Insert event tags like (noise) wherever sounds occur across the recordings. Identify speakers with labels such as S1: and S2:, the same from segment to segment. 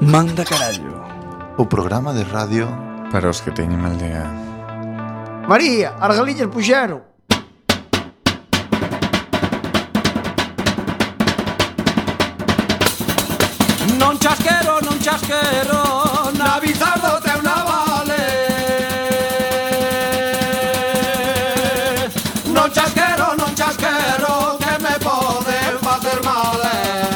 S1: Manda carallo
S2: O programa de radio
S3: Para os que teñen aldea
S4: María, as galiñas puxeron.
S5: Non chasquero, non chasquero Na bizardo treu na vale Non chasquero, non chasquero Que me poden facer mal eh.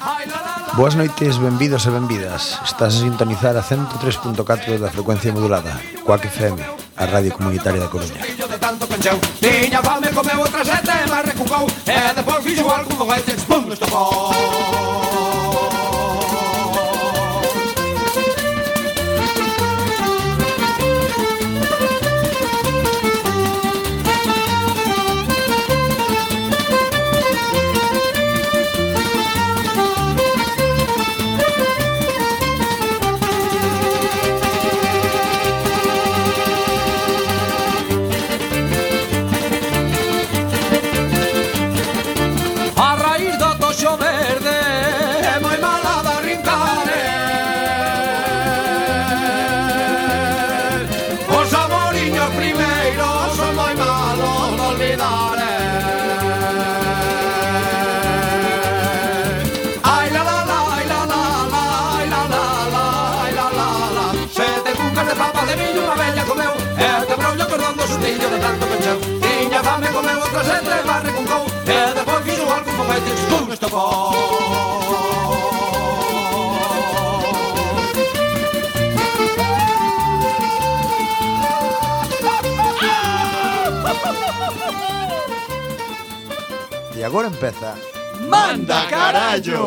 S5: Ai, la, la, la.
S6: Boas noites, benvidos e benvidas. Estás a sintonizar a 103.4 da frecuencia modulada, Coac FM, a radio comunitaria da Coruña.
S5: Fillo de tanto pencheu Tiña fame, comeu outra sete e máis recucou E depois fixo algún foguete Pum, estopou A raíz do toxo verde É moi mala da rincare Os amoriños primeiros Son moi malos de olvidar eh. Ai la la la, ai la la la Ai la la la, ai la la la Sete cucas de papa de millo Unha bella comeu E te brollo cordón do sustillo de tanto pecheu Tiña fame comeu outra sete e barre con cou E depois fixo algún foguete Pum, estopou
S6: E agora empeza
S5: ¡Manda carallo!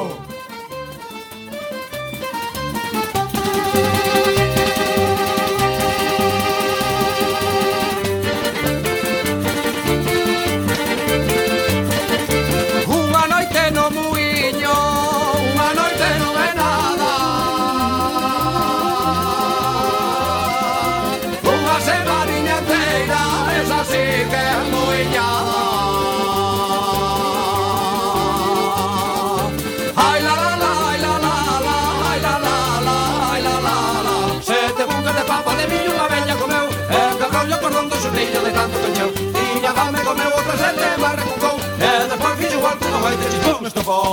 S5: Unha noite no muiño, unha noite non é nada Unha semaniña inteira, esa sí que é muiñada Ai la la la, ai la la la, ai la la la, ai la la la Sete bucas de papa de millo unha bella comeu E que rollo cordón do xurrillo de tanto cañeu Tiña fame comeu outra sete e barra cucou E despois fixo igual que unha baita xipón estopou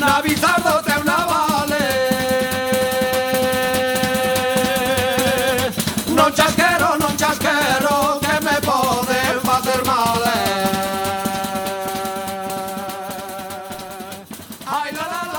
S5: Na bizardo te una vale Non chasquero, non chasquero Que me poden facer mal eh. Ai, la, la, la.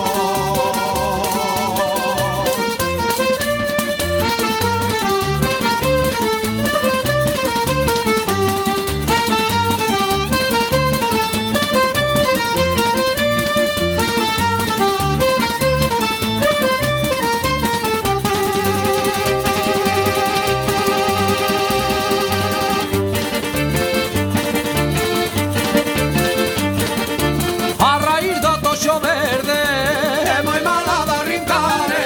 S5: A raíz do toxo verde É moi mala da rincare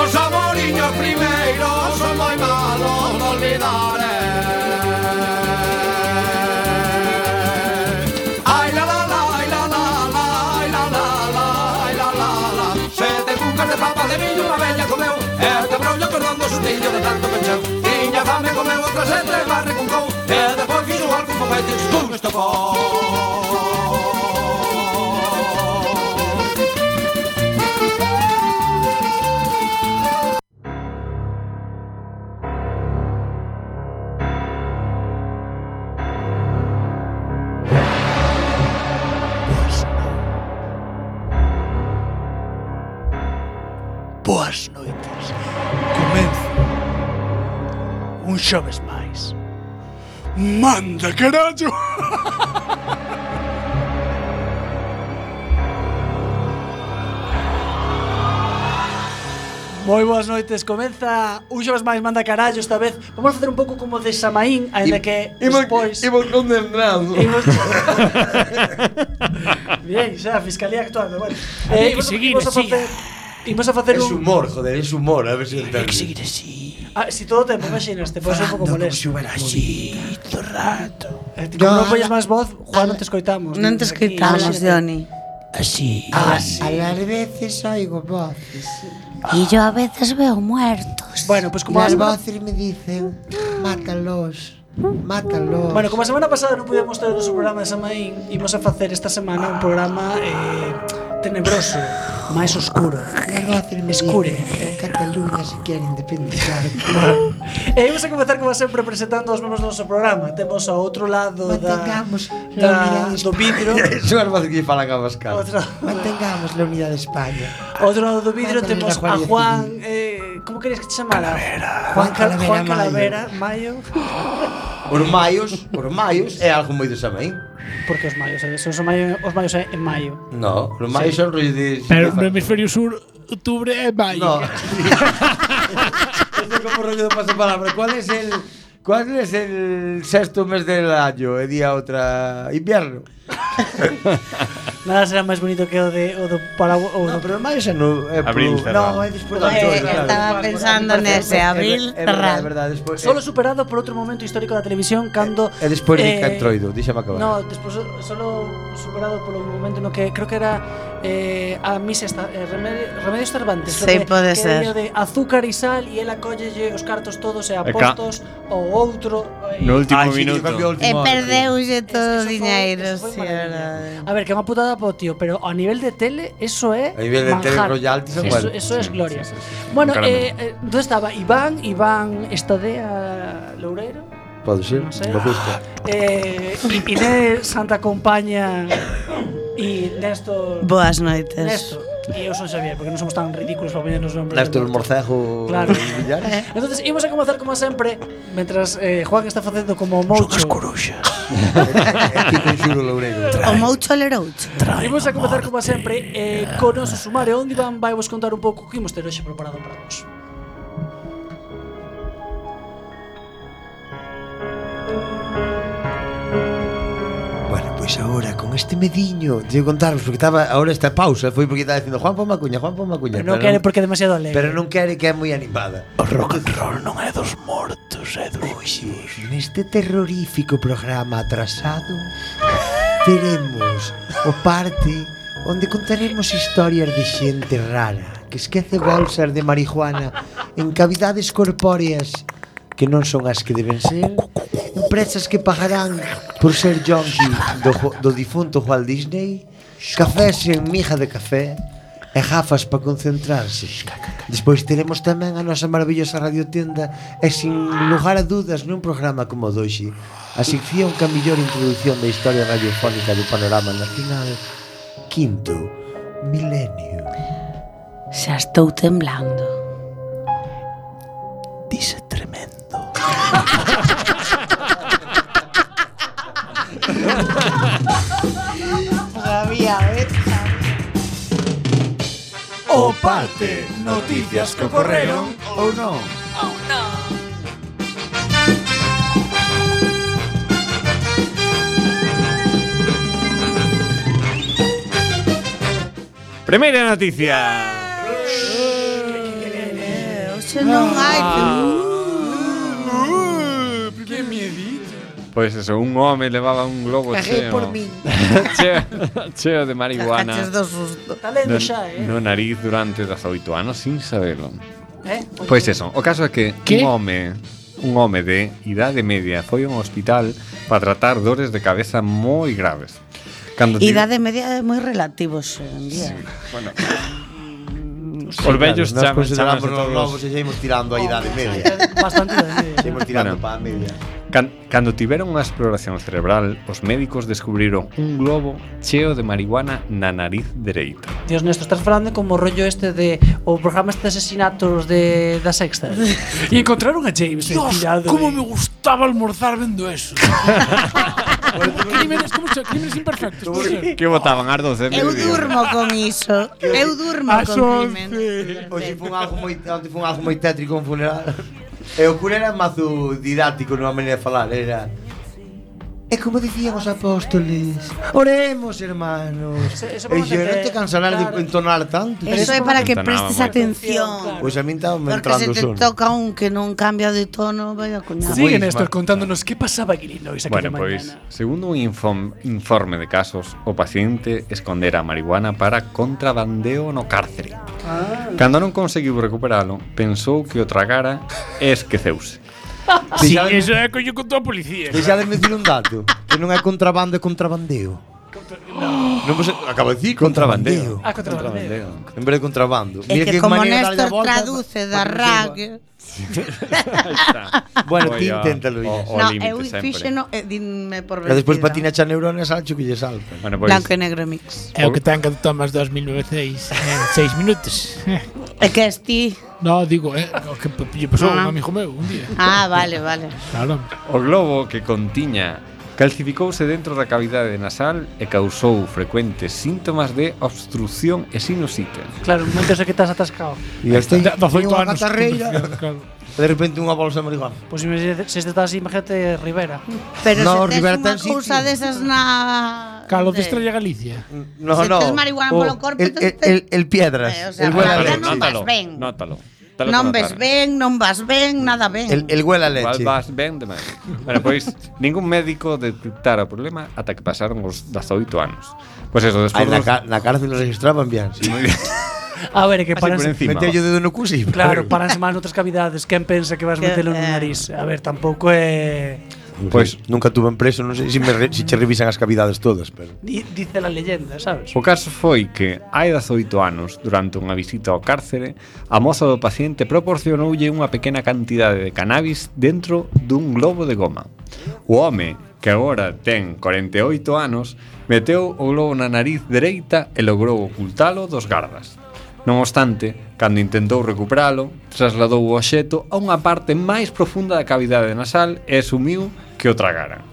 S5: Os amoriños primeiros Son moi malos de olvidar eh. Ai la la la, ai la la la Ai la la la, ai la la la Sete cucas de papa de millo Unha bella comeu E te brollo cordón do sustillo de tanto pecheu Tiña fame comeu outra sete E barre con cou E depois fixo algo con feites Pum, estopou
S1: Boas noites Comenzo Un xoves máis.
S7: Manda, carallo!
S1: (laughs) Moi boas noites, comeza un xoves máis manda carallo esta vez. Vamos a facer un pouco como de Samaín, aínda que despois
S8: Imos condenado.
S1: Imos- (laughs) Bien, xa, a Fiscalía actuando, bueno.
S9: Hai
S1: Eh,
S9: que
S1: imos,
S9: seguir,
S1: imos a
S9: siga.
S1: facer Imos a facer
S8: Es
S1: un...
S8: humor, joder, es humor, a ver si
S9: Hai que
S8: entendes.
S9: seguir así.
S1: Ah, si todo o tempo, imaginaste, pois é un pouco molesto.
S9: Así, todo el rato.
S1: Eh, ti Como non poñes máis voz, Juan, non te escoitamos.
S10: Non te
S1: Aquí,
S10: escoitamos,
S1: imagínate.
S10: Doni.
S9: Así.
S1: Ah,
S10: E yo a veces veo muertos.
S1: Bueno, pois como a semana, bueno, como a semana pasada non pudemos ter o noso programa de Samaín, imos a facer esta semana un programa eh, tenebroso, máis oscuro. Escure.
S4: Cataluña se quere independizar.
S1: E imos a comenzar como sempre presentando os membros do noso programa. Temos ao outro lado da,
S4: Mantengamos la
S1: da
S4: unidade
S1: do
S8: (laughs)
S1: vidro,
S8: Eso é algo que falan a Pascal.
S1: outro,
S4: Mantengamos la unidad de España.
S1: ao outro lado do vidro
S4: Mantén
S1: temos
S4: a
S1: a
S4: Juan
S1: Juan, eh, como queres que te chamara? Juan, Cal-
S4: Calavera
S1: Juan
S4: Mayo.
S1: Calavera Mayo.
S8: Os maios, os maios é algo moi do Samaín.
S1: (gasps) Porque os maios, eh, son os maios, os maios eh, en maio.
S8: No, os maios son rollo de...
S9: Pero no hemisferio sur, octubre é maio.
S8: No.
S9: (laughs)
S8: Esto como rollo de pasapalabra. ¿Cuál es el cuál es el sexto mes del año? El día otra invierno.
S1: (laughs) Nada será máis bonito que o de o do para o
S8: No,
S1: do
S8: pero el mayo es no é
S3: Abril
S8: pro-
S3: cerrado.
S8: eh, No, é despois
S10: Eh, estaba pensando nese,
S8: eh,
S10: abril
S8: É verdade, é
S10: cerrado.
S8: verdade, despois.
S1: Solo superado por outro momento histórico da televisión cando
S8: É despois Eh, de
S1: eh,
S8: Cantroido, díxame acabar.
S1: No, despois solo superado polo momento no que creo que era eh, a misa esta, eh, Remedios, Remedios Cervantes creo
S10: Sí,
S1: que,
S10: pode
S1: que
S10: ser.
S1: era de azúcar e sal e ela collelle os cartos todos e
S3: E ca-
S1: apostos o outro eh,
S3: No último
S8: Ai, sí,
S3: minuto.
S8: cambiou o último eh,
S10: E
S8: ano.
S10: perdeulle todo o
S1: eso foi-
S10: diñeiro,
S1: eso foi
S10: si,
S1: maravilla.
S10: verdade.
S1: A ver, que é unha putada po tío, pero a nivel de tele eso é
S8: A nivel de tele
S1: manjar.
S8: royalties,
S1: eso,
S8: bueno.
S1: eso es
S3: Sí,
S1: gloria.
S3: sí, sí, sí.
S1: Bueno,
S3: Un caramelo.
S1: eh, eh, ¿dónde estaba Iván? Iván Estadea Loureiro.
S8: Pode ser,
S1: No sé.
S8: me gusta.
S1: Eh, I- Inés Santa Compaña y Néstor.
S10: Boas noites.
S1: Néstor. Y yo soy Xavier, porque no somos tan ridículos para poner los nombres.
S8: Néstor
S1: de-
S8: Morcejo
S1: Claro.
S8: e Villares.
S1: (laughs) Entonces, íbamos a comenzar como siempre, mientras eh, Juan está haciendo como mocho.
S8: (laughs) Aquí con Xuro Loureiro.
S10: O moucho leroucho.
S1: Imos a comenzar como sempre eh, con o noso sumario onde Iván vai vos contar un pouco que imos ter hoxe preparado para vos.
S6: Bueno, pois
S8: Ahora, con este mediño, tengo que contarvos porque estaba ahora esta pausa, foi porque estaba dicindo Juan Poma Cuña, Juan Poma Cuña.
S1: Pero non quere porque é demasiado alegre.
S8: Pero non quere que é moi animada.
S9: O rock and roll non é dos mortos, é dos vivos.
S4: Neste este terrorífico programa atrasado teremos o parte onde contaremos historias de xente rara que esquece bolsas de marihuana en cavidades corpóreas que non son as que deben ser empresas que pagarán por ser junkie do, jo- do difunto Walt Disney cafés en mija de café e gafas para concentrarse Despois teremos tamén a nosa maravillosa radiotenda e sin lugar a dudas nun programa como o doxe a sección que a mellor introdución da historia radiofónica do panorama nacional Quinto Milenio
S10: Xa estou temblando.
S9: Dice tremendo.
S10: Sabía, eh?
S8: (laughs) O parte, noticias que ocorreron ou non.
S9: Primeira noticia.
S10: Hoxe non
S1: Ah.
S10: hai...
S3: Pois eso, un home levaba un globo
S4: Caguei
S3: cheo.
S4: por min
S3: (laughs) cheo, cheo de marihuana.
S10: Caches do susto.
S1: Está lendo
S3: No,
S1: xa, eh?
S3: no nariz durante 18 anos sin saberlo.
S1: eh?
S3: Pois eso, o caso é que
S9: Que?
S3: un home un home de idade media foi a un hospital para tratar dores de cabeza moi graves. Cando ti-
S10: Idade media é moi relativo xe en día.
S3: os vellos
S8: Nós
S3: chaman, chaman
S8: consideramos os novos e seguimos tirando a idade media.
S1: Bastante ben, eh.
S8: Seguimos tirando
S3: Bueno.
S8: pa a media.
S3: Can, cando tiveron unha exploración cerebral, os médicos descubriron un globo cheo de marihuana na nariz dereita.
S1: Dios, Néstor, estás falando como rollo este de o programa este de asesinatos de da sexta. (laughs) e encontraron a James
S7: Dios,
S1: pillado.
S7: cómo
S1: eh.
S7: me gustaba almorzar viendo eso. crímenes, ¿cómo se Crímenes imperfectos. ¿cómo se-
S3: Que votaban ás 12
S11: Eu durmo con iso. Eu durmo
S1: Ah,
S7: Ás
S11: con
S7: once.
S11: crimen.
S8: (laughs) Hoxe foi un algo moi, onte foi un algo moi tétrico un funeral. E o cura era mazo didáctico nunha maneira de falar, era
S4: E como dicían os apóstoles, oremos, hermanos.
S1: eso
S4: e
S1: vamos a
S4: dixo, non
S1: hacer,
S4: te cansarás
S1: claro.
S4: de entonar tanto.
S11: Eso é para que prestes
S4: Entonaba moito.
S11: atención.
S6: Pois a min estaba me
S11: Porque se
S6: entrando o
S11: te
S6: sono.
S11: toca un que non cambia de tono, vai a coñar.
S1: Sigue
S3: Isma.
S1: Néstor contándonos qué pasaba en Illinois aquella
S3: Bueno, pois,
S1: mañana.
S3: segundo un inform- informe de casos, o paciente escondera a marihuana para contrabandeo no cárcere.
S6: Ah.
S3: Cando non conseguiu recuperalo, pensou que o tragara e esqueceuse.
S7: Sí,
S6: Deixade-
S7: eso é coño con toda a policía.
S6: Deixademe dicir un dato, que non é contrabando, é contrabandeo. Non vos acabo de dicir contrabandeo.
S1: Ah, contrabandeo.
S6: En vez de contrabando.
S11: É
S6: Mira
S11: que como
S6: maneira de darlle a
S11: Néstor
S6: volta.
S11: traduce da rag...
S8: (laughs)
S11: (laughs)
S6: Bueno, ti
S3: Voy a-
S6: inténtalo.
S3: o-
S6: Ixas.
S3: o
S11: eh, No,
S3: límite
S11: eu
S3: sempre.
S11: fíxeno e dinme por
S6: E despois
S11: vencida.
S6: patinacha neuronas ancho que lle salta.
S3: Bueno, pois,
S11: Blanco e negro mix.
S7: É o que ten que tomas 2096 en 6 eh,
S11: (laughs)
S7: minutos.
S11: É que és ti.
S7: No, digo, é o que p- lle pasou a
S11: Ah.
S7: un amigo meu un día.
S11: Ah, vale, vale.
S7: Claro.
S3: o globo que contiña calcificouse dentro da cavidade nasal e causou frecuentes síntomas de obstrucción e sinusite.
S1: Claro, un momento ese que estás atascado.
S6: E este
S7: Da- da oito
S6: unha
S7: anos.
S1: (laughs)
S6: catarreira.
S7: Claro.
S6: de repente unha bolsa de marihuana.
S1: Pois imagínate, se este estás imagínate Rivera.
S11: Pero
S6: No,
S11: se
S6: Rivera
S11: tes unha
S6: ten sitio.
S11: cousa desas na...
S7: Calo
S11: de-
S7: de Estrella Galicia.
S6: No,
S11: Se
S6: no. Oh,
S11: tes marihuana polo corpo,
S6: el,
S11: tes-
S6: el, el, el piedras.
S11: Eh, o sea,
S6: el huela
S11: Ahora
S6: leche.
S11: non vas ben.
S3: Nótalo.
S11: Non ves ben, non vas ben, nada ben.
S6: El, el huela leche.
S3: Igual vas ben demais. Bueno, pois, ningún médico detectara o problema ata que pasaron os 18 anos. Pois Pues eso,
S6: Ai,
S3: despois
S6: na,
S3: dos-
S6: ca- na cárcel registraban bien. Sí.
S3: Moi bien.
S1: A ver, é
S6: Ah,
S1: que
S3: Así por
S1: paranse.
S3: encima.
S6: Meteu o dedo no cu, sí.
S1: Claro, paranse mal noutras cavidades. Quen pensa que vas
S11: Que-
S1: metelo no
S11: eh.
S1: nariz? A ver, tampouco é...
S3: Pois-
S6: Pois nunca tuve preso, non sei se me re, se che revisan as cavidades todas, pero
S1: Di- Dice la leyenda, sabes?
S3: O caso foi que, hai 18 anos, durante unha visita ao cárcere, a moza do paciente proporcionoulle unha pequena cantidade de cannabis dentro dun globo de goma. O home, que agora ten 48 anos, meteu o globo na nariz dereita e logrou ocultalo dos gardas. Non obstante, cando intentou recuperalo, trasladou o obxeto a unha parte máis profunda da cavidade nasal e asumiu que o tragaran.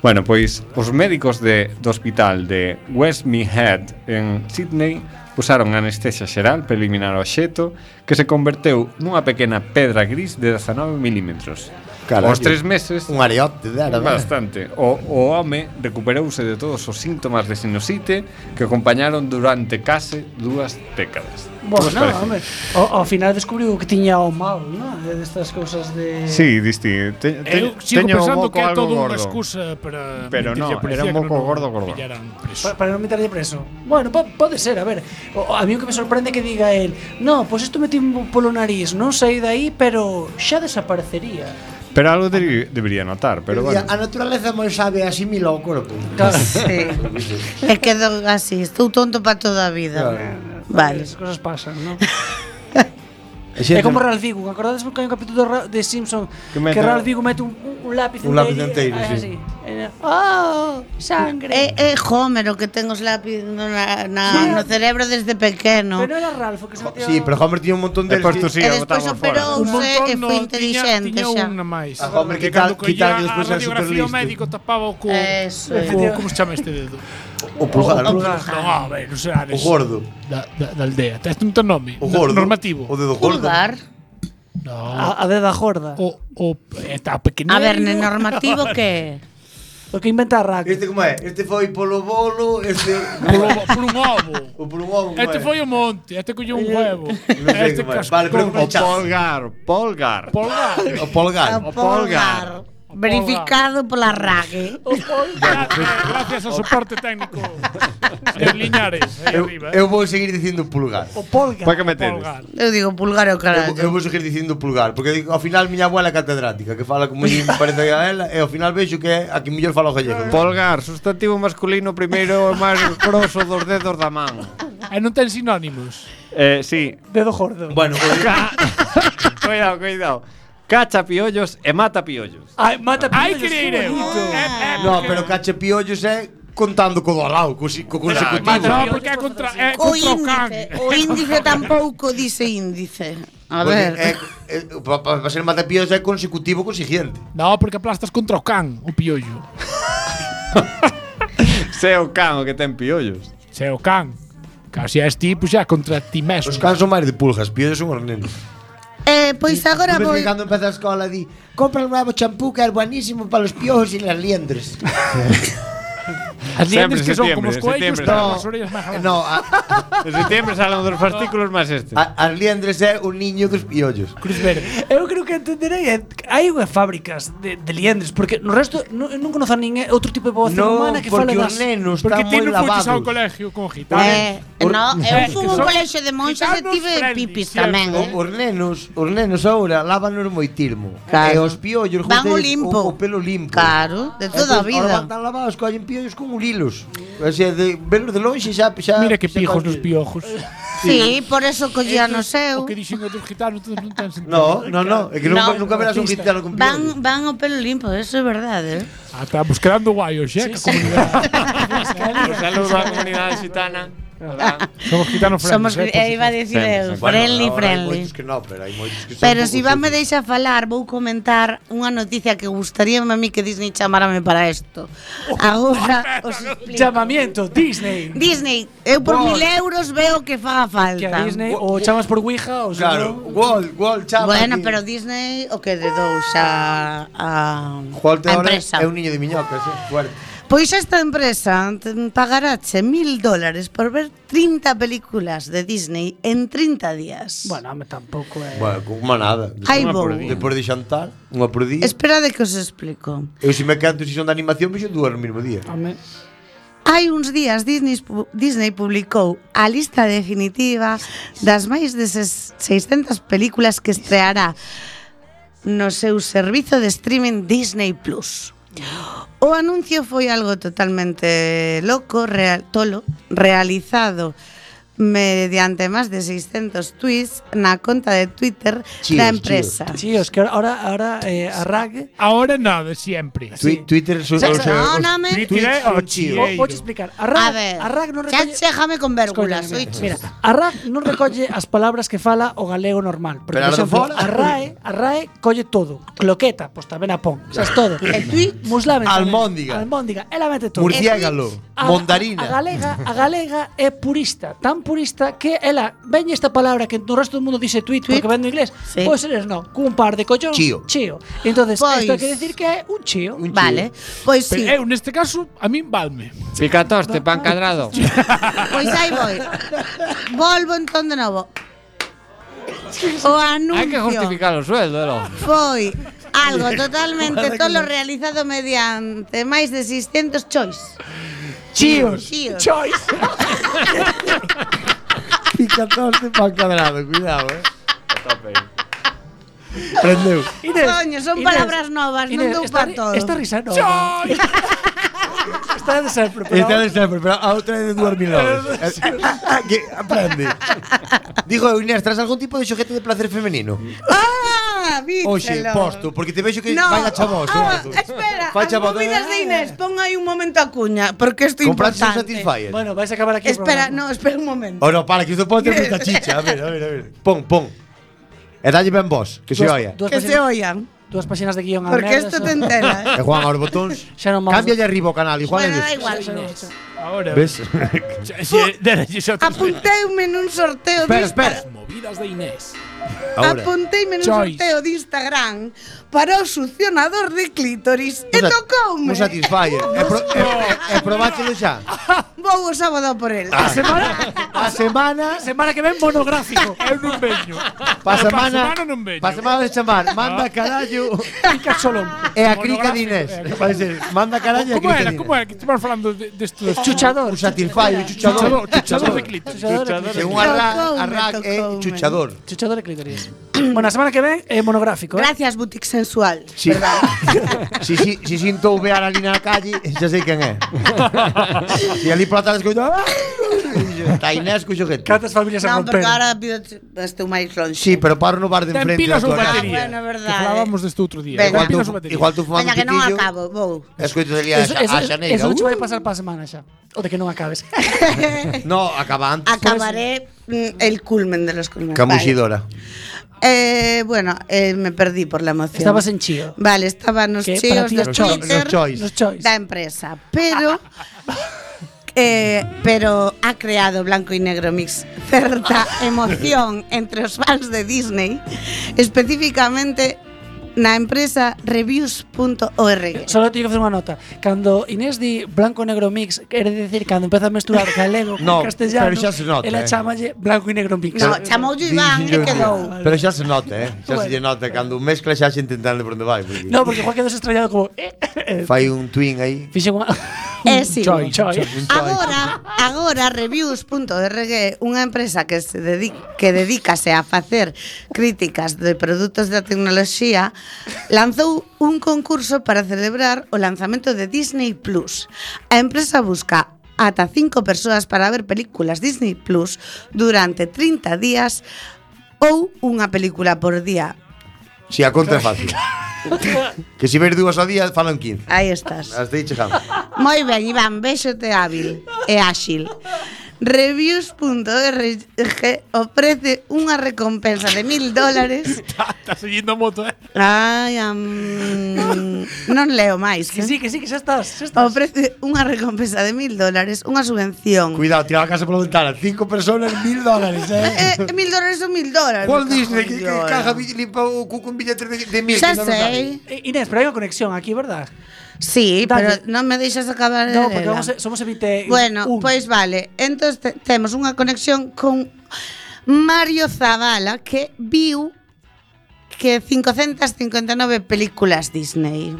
S3: Bueno, pois os médicos de, do hospital de Westmead Head en Sydney usaron anestesia xeral para eliminar o xeto que se converteu nunha pequena pedra gris de 19 milímetros.
S6: Carallo.
S3: Os tres meses,
S6: un areote
S3: eh.
S6: de árabe.
S3: bastante. O, o home recuperouse de todos os síntomas de sinusite que acompañaron durante case dúas décadas.
S6: Pues
S3: Como os
S1: Bueno,
S3: parece?
S1: home, ao, ao final descubriu que tiña o mal, Eh, non? Destas cousas de... Eh,
S3: Sí, disti. Te, te,
S7: Eu sigo
S3: teño o
S7: pensando
S3: moco
S7: que é
S3: algo
S7: todo unha
S3: gordo.
S7: excusa para
S3: Pero no,
S7: mentirlle á policía
S3: era un
S7: que
S3: moco
S7: non
S3: gordo, gordo.
S7: pillaran preso.
S1: Pa- Para non meterlle preso. Bueno, po- pode ser, a ver. O- A mí o que me sorprende é que diga el, no, pues pois isto metín polo nariz, non saí dai, pero xa desaparecería.
S3: Pero algo de- debería notar, pero bueno.
S4: A naturaleza moi sabe asimila o corpo.
S1: Claro.
S11: Sí. E quedo así, estou tonto para toda a vida. Vale.
S1: As cousas pasan,
S11: (laughs)
S1: non?
S6: E
S1: É
S6: xente-
S1: como Ralph Vigo, acordades porque hai un capítulo de Ra- de Simpson
S3: Que
S1: que,
S3: mete-
S1: que Ralph Vigo mete un, un, un lápiz
S6: Un lápiz enteiro,
S1: e-
S6: sí.
S1: así. E- Oh, sangre.
S11: É, é Homer o que ten os lápiz no, na, na, no cerebro desde pequeno.
S1: Pero era Ralph o que se metía...
S6: Sí, pero Homer tiña un montón de
S3: Despois tú sí,
S11: e
S3: a
S11: despois
S3: botamos fora.
S11: operou (laughs) e foi inteligente
S7: tiña,
S11: xa.
S7: tiña unha máis.
S6: Ah, hombre,
S7: Porque
S6: quitar-
S7: cando collía
S6: quitarlle despois
S7: a
S6: era
S7: radiografía o
S6: superlisto.
S7: médico tapaba o cu.
S11: Eso é.
S7: o cu, como se chama este dedo? Ah,
S6: o pulgar, o,
S1: O pulgar.
S7: Non, a ver, non sei,
S6: o
S7: Ares,
S6: gordo,
S7: Da, da, da aldea. Tens un teu nome?
S6: o gordo,
S7: Normativo.
S6: o dedo gordo.
S11: Pulgar.
S7: No.
S1: A, a deda jorda.
S7: O, o, está pequenino.
S11: A ver, ne normativo
S1: (laughs)
S11: que
S1: O que inventa Rack.
S6: Este como é? Este foi polo bolo, este
S7: (laughs) Por, o- por un ovo.
S6: o polo ovo. como
S7: Este
S6: é?
S7: foi o monte, este colleu un huevo.
S6: Non sei
S7: Este
S6: como é. Vale, pero
S7: cascou.
S6: como
S3: O
S6: chas.
S3: polgar, polgar.
S7: Polgar.
S6: O polgar.
S11: o polgar. Verificado pola RAG.
S7: O polgar. Oh, Gracias ao soporte técnico. Señor Liñares, aí
S6: Eh, Eu,
S7: arriba.
S6: eu vou seguir dicindo pulgar.
S1: O polga.
S3: Para que me tedes?
S7: Polgar.
S11: Eu digo pulgar é
S6: Eu,
S11: o
S6: eu
S11: carallo.
S6: vou seguir dicindo pulgar, porque digo, ao final miña abuela é catedrática, que fala como me parece que a ela, e ao final vexo que é a que mellor fala o
S7: Ah.
S6: gallego.
S3: Polgar, sustantivo masculino primeiro
S6: (laughs)
S3: e máis grosso dos dedos da man.
S7: E non ten sinónimos.
S3: Eh, sí.
S1: Dedo
S3: (laughs)
S1: jordo.
S6: Bueno, o,
S3: cuidado, cuidado. Cacha piollos e mata piollos.
S1: Ai, mata
S7: Hai
S1: piollos,
S7: que
S1: que
S7: ir eu.
S1: bonito.
S7: eh,
S8: No, pero cache piollos é contando co do alao, co, si- co consecutivo.
S7: No, porque é contra, é
S11: O
S7: contra o can.
S11: índice, o índice tampouco dice índice. A
S8: Porque
S11: ver.
S8: É, é, pa- pa- pa ser matapillos é consecutivo co siguiente.
S7: No, porque aplastas contra o can, o piollo.
S3: Se é o can o que ten piollos.
S7: Se é o can. Casi és ti, pois xa contra ti mesmo.
S12: Os cans son máis de pulgas, piollos son os nenos.
S11: Eh, pois agora
S8: Tú ves
S11: vou
S8: que cando empeza a escola di Compra un novo champú que é buenísimo para os piojos e las liendres
S7: (laughs) As
S3: Sempre
S7: liendres
S3: en
S7: que son
S3: septiembre,
S7: como os
S3: en
S7: coellos,
S3: septiembre
S7: pero
S3: salen.
S7: as orellas máis grandes.
S8: No, a,
S3: En septiembre salen dos fastículos máis este.
S8: a, as liendres é o niño dos piollos
S7: Cruz verde.
S1: Eu creo que entenderei é que hai unhas fábricas de, de liendres porque no resto no, eu non conozo a ninguén outro tipo de población
S8: Non,
S1: humana que fala
S8: porque os
S1: das
S8: nenos
S7: Porque
S8: están
S7: ti
S8: moi
S7: non fuches ao
S8: lavados
S7: colegio con gitanos.
S11: Eh, no, eu fui un
S7: son
S11: colexo de monxas e
S7: gitanos
S11: tive
S7: friendly,
S11: pipis
S7: siempre.
S11: tamén, eh.
S8: O- Os nenos, os nenos agora lávanos moitismo
S11: Claro.
S8: E os piollos
S11: Van o
S8: joder,
S11: limpo.
S8: o, o pelo limpo
S11: Claro, de toda a
S8: Entón, Ahora
S11: vida.
S8: van tan lavados, collen piollos con lilos O sea, de, velos de longe xa, xa
S7: Mira que
S8: xa
S7: pijos nos
S8: colles.
S7: piojos.
S11: Sí, por eso collía no
S7: O
S11: seu.
S7: que dixen outros gitanos, todos non ten sentido.
S8: No, no, no, é que nunca,
S11: No.
S8: nunca verás un cristiano con piollos
S11: Van, van o pelo limpo, eso é verdade, eh.
S7: Ah, estamos quedando guai hoxe, eh,
S11: (laughs)
S7: que comunidade. (laughs)
S3: Un saludo á comunidade xitana.
S7: Somos gitanos
S11: Somos,
S7: francos, eh, por
S11: eh, iba a decir
S3: Sempre,
S11: eu,
S3: sempre.
S11: friendly,
S8: Ahora hai
S11: friendly.
S8: moitos que non, pero hai moitos que son
S11: Pero
S8: un
S11: se si
S8: pouco
S11: me deixa falar, vou comentar unha noticia que gustaríame a mí que Disney chamárame para isto.
S1: (laughs)
S11: Agora os explico.
S1: chamamiento Oh, Disney.
S11: Disney, eu por mil euros veo que faga
S1: Que
S11: falta.
S1: a Disney o chamas por Ouija ou se
S8: Claro,
S1: non-
S8: Wall, Wall, chapa.
S11: Bueno,
S8: aquí.
S11: pero Disney o que dedou xa a,
S8: Walt
S11: a
S8: ahora
S11: empresa.
S8: é un niño de miñocas, eh, fuerte.
S11: Pois esta empresa te- pagarache mil dólares por ver 30 películas de Disney en 30 días.
S1: Bueno, home, tampouco é.
S8: Bueno, con unha nada.
S11: Ai, vou.
S8: Depois de xantar, unha por día.
S11: Espera de que os explico.
S8: Eu se me canto se son de animación, vexo dúas no mesmo día.
S1: Home,
S11: Hai uns días Disney, pu- Disney publicou a lista definitiva das máis de ses- 600 películas que estreará no seu servizo de streaming Disney Plus. O anuncio foi algo totalmente loco, real, tolo, realizado mediante máis de 600 tweets na conta de Twitter
S8: Chios,
S11: da empresa.
S1: chíos, que ahora ahora eh, a RAG
S7: Ahora nada, sempre.
S8: Twi- Twitter son
S11: Xa,
S8: os
S11: perdóname.
S7: Twitter é o
S1: Vou
S7: chieiro.
S1: vouche explicar. A
S11: A
S1: RAG,
S11: ver,
S1: a RAG non
S11: xa
S1: recolle
S11: chéjame con
S1: Escoita,
S11: vérgulas,
S1: mira,
S11: soy
S1: Mira, a RAE non recolle as palabras que fala o galego normal. Porque, por
S8: Pero a do
S1: exemplo,
S8: fora?
S1: a RAE, a RAE colle todo. Cloqueta, pois tamén a pon. Xa es
S11: (laughs)
S1: todo.
S11: E tuit?
S1: Muslamen. tamén.
S8: Almóndiga.
S1: Almóndiga, ela mete todo.
S8: murciégalo,
S1: A-
S8: mondarina.
S1: A, a galega, a galega é purista, tan purista que ela veñe esta palabra que no resto do mundo dice tweet,
S11: Tweet.
S1: porque vendo inglés, Pues
S11: Sí.
S1: pois eles non, cun par de collóns,
S8: Chío.
S1: chío. Entonces,
S11: Pois.
S1: isto hai que decir que é un chío.
S11: Vale, pois sí.
S7: Pero eu, neste caso, a min valme.
S3: Picatoste, pan cadrado.
S11: Pois aí voi. Volvo entón de novo. O
S3: Hai que
S11: anuncio
S3: justificar o sueldo, eh, logo.
S11: foi algo totalmente tolo realizado mediante máis de 600 choice.
S1: Chíos.
S11: Chíos. (laughs)
S1: Choice.
S8: picatós de pan cadrado, cuidado, eh. Prendeu.
S1: Inés,
S11: Coño, son palabras novas, non dou
S1: esta
S11: pa
S1: ri-
S11: todo.
S1: Esta risa nova. Está de sempre, pero...
S8: Esta é de sempre, pero a outra é de dúas mil dólares. (laughs) que aprende. Digo, eu, Inés, tras algún tipo de xoguete de placer femenino?
S11: Ah, vícelo.
S8: Oxe, posto, porque te vexo que
S11: No.
S8: vai a chavos.
S11: Ah,
S8: eh.
S11: espera,
S8: Vai
S11: as
S8: chavos,
S11: movidas de
S8: eh.
S11: Inés, pon aí un momento a cuña, porque isto é
S8: Compraste un
S11: importante.
S8: Satisfyer.
S1: Bueno, vais a acabar aquí o
S11: Espera,
S1: programa.
S11: no, espera un momento.
S8: Ora, para, que isto pode ter moita chicha. A ver, a ver, a ver. Pon, pon. E dalle ben vos, que se
S1: Dúas-
S8: oia.
S1: dúas
S11: Que se
S1: páxinas-
S11: oian,
S1: Dúas páxinas de guión a
S11: porque
S1: merda,
S11: isto
S1: xa-
S11: te
S1: (laughs)
S11: entela.
S8: E Juan, aos botóns.
S1: Xa non vamos-
S8: Cámbialle arriba o canal, igual
S11: Bueno,
S8: eles.
S11: da igual, Inés.
S7: Ahora,
S8: Ves?
S7: xa- xa- déralles outros-
S11: Apunteume nun sorteo
S8: Espera,
S11: de
S8: espera.
S7: Movidas de Inés.
S8: Ahora.
S11: Apunteime nun
S7: Choice.
S11: sorteo de Instagram para o succionador de clítoris e
S8: sat-
S11: tocoume.
S8: Un satisfyer. E, pro, e, e, e probáchelo xa.
S1: Oh,
S11: Vou o sábado a por el.
S1: A semana,
S11: (laughs)
S8: A semana,
S1: semana que ven (laughs) monográfico.
S7: Eu non veño. Eu
S8: pa
S7: Ah, pa
S8: semana,
S7: semana Ah. non veño.
S8: pa semana de chamar, manda (laughs) carallo
S1: Pica Solón.
S8: e a crica de Inés. Vai ser, manda carallo e a
S7: Como
S8: crica
S7: era?
S8: de
S7: Como
S8: Inés.
S7: era? Que estivamos falando de- desto de,
S1: Chuchador.
S8: Un satisfyer, un
S7: Chuchador,
S8: chuchador.
S7: chuchador de clítoris.
S1: Chuchador de
S8: Que
S1: clítoris.
S8: un arrag,
S11: Tocoume,
S8: arrag e
S11: tocoume. (clears throat)
S8: chuchador.
S1: Chuchador de clítoris. bueno, a semana que ven é monográfico, eh?
S11: Gracias, Boutique Sensual.
S8: Si, si, si, si sinto o vear ali na calle, xa sei quen é. Si ali pola tarde escoito... "Ah!" Tainés cuxo gente.
S1: Cantas familias
S11: Non, porque agora pido este estou máis lonxe.
S8: Sí, pero paro no bar de
S11: Ten
S8: enfrente.
S11: pilas
S8: da
S11: ou
S8: tua casa.
S11: batería? Ah, bueno, é verdade.
S7: Que falábamos deste outro día.
S11: Venga.
S7: Ten
S8: Igual
S7: pilas ou
S8: tú,
S7: batería.
S8: igual tú fumando
S11: Maña
S8: un
S11: que non
S8: pitillo.
S11: acabo, vou.
S8: Escoito de a,
S1: Eso,
S8: xa-
S1: eso,
S8: a Xaneira.
S1: eso non che vai
S8: Uh.
S1: pasar para a semana xa. O de que non
S11: (laughs)
S1: acabes.
S8: No, acaba antes.
S11: Eh. Acabaré mm, el culmen de los culmen.
S8: Camusidora.
S11: Vale. Eh, bueno, eh, me perdí por la emoción.
S1: Estabas en Chío.
S11: Vale, estaba nos
S1: Que para
S11: chios
S1: ti
S11: de
S1: os choice.
S11: Twitter,
S1: Los choice. Los choice.
S11: da empresa,
S1: (laughs)
S11: pero eh, pero ha creado Blanco y Negro Mix
S1: (laughs)
S11: certa emoción entre os fans de Disney, especificamente na empresa reviews.org.
S1: Solo teño que facer unha nota. Cando Inés di blanco e negro mix, quere decir cando empeza a mesturar galego
S8: No,
S1: con castellano,
S8: pero xa se nota,
S1: ela
S8: eh.
S1: chamalle blanco e negro mix.
S11: No, chamoulle Iván e
S8: Díxenlle
S11: quedou.
S8: un día. Pero xa se nota, eh? Xa
S1: Bueno.
S8: se lle nota cando mezcla xa se entendendo por onde vai, porque
S1: No, porque Juan quedou estrellado como eh, eh,
S8: fai un twin aí.
S1: fixe unha
S11: É sí.
S1: Choi, choi.
S11: Agora, agora reviews.org, unha empresa que se dedica, que dedícase a facer críticas de produtos da tecnoloxía, lanzou un concurso para celebrar o lanzamento de Disney Plus. A empresa busca ata cinco persoas para ver películas Disney Plus durante 30 días ou unha película por día.
S8: Si a conta é fácil. que si ver dúas ao día falan 15.
S11: Aí estás.
S8: Hasta aí chegamos.
S11: Moi ben, Iván, béxote hábil e áxil. Reviews.org ofrece unha recompensa de mil dólares.
S7: (laughs) Está seguindo a moto, eh?
S11: Ai, am... non leo máis.
S1: Que sí, que sí, que xa estás, xa estás.
S11: Ofrece unha recompensa de mil dólares, unha subvención.
S8: Cuidado, tira a casa pola ventana. Cinco personas, mil dólares, eh?
S11: Eh, eh, mil dólares son mil dólares.
S8: Walt
S11: me cago
S8: Disney,
S11: en
S8: que, que
S11: Dios.
S8: caja bi- limpa o cu con billetes de, de mil.
S11: Xa
S8: que non nos
S11: sei.
S8: sabe.
S1: Eh, Inés, pero hai unha conexión aquí, verdad?
S11: Sí,
S1: Dale.
S11: pero non me deixas acabar de
S1: No, porque
S11: lela.
S1: vamos, a- somos
S8: Eh,
S1: evite
S11: Bueno,
S1: un.
S11: pois vale. Entón te, temos unha conexión con Mario Zavala que viu que 559 películas Disney.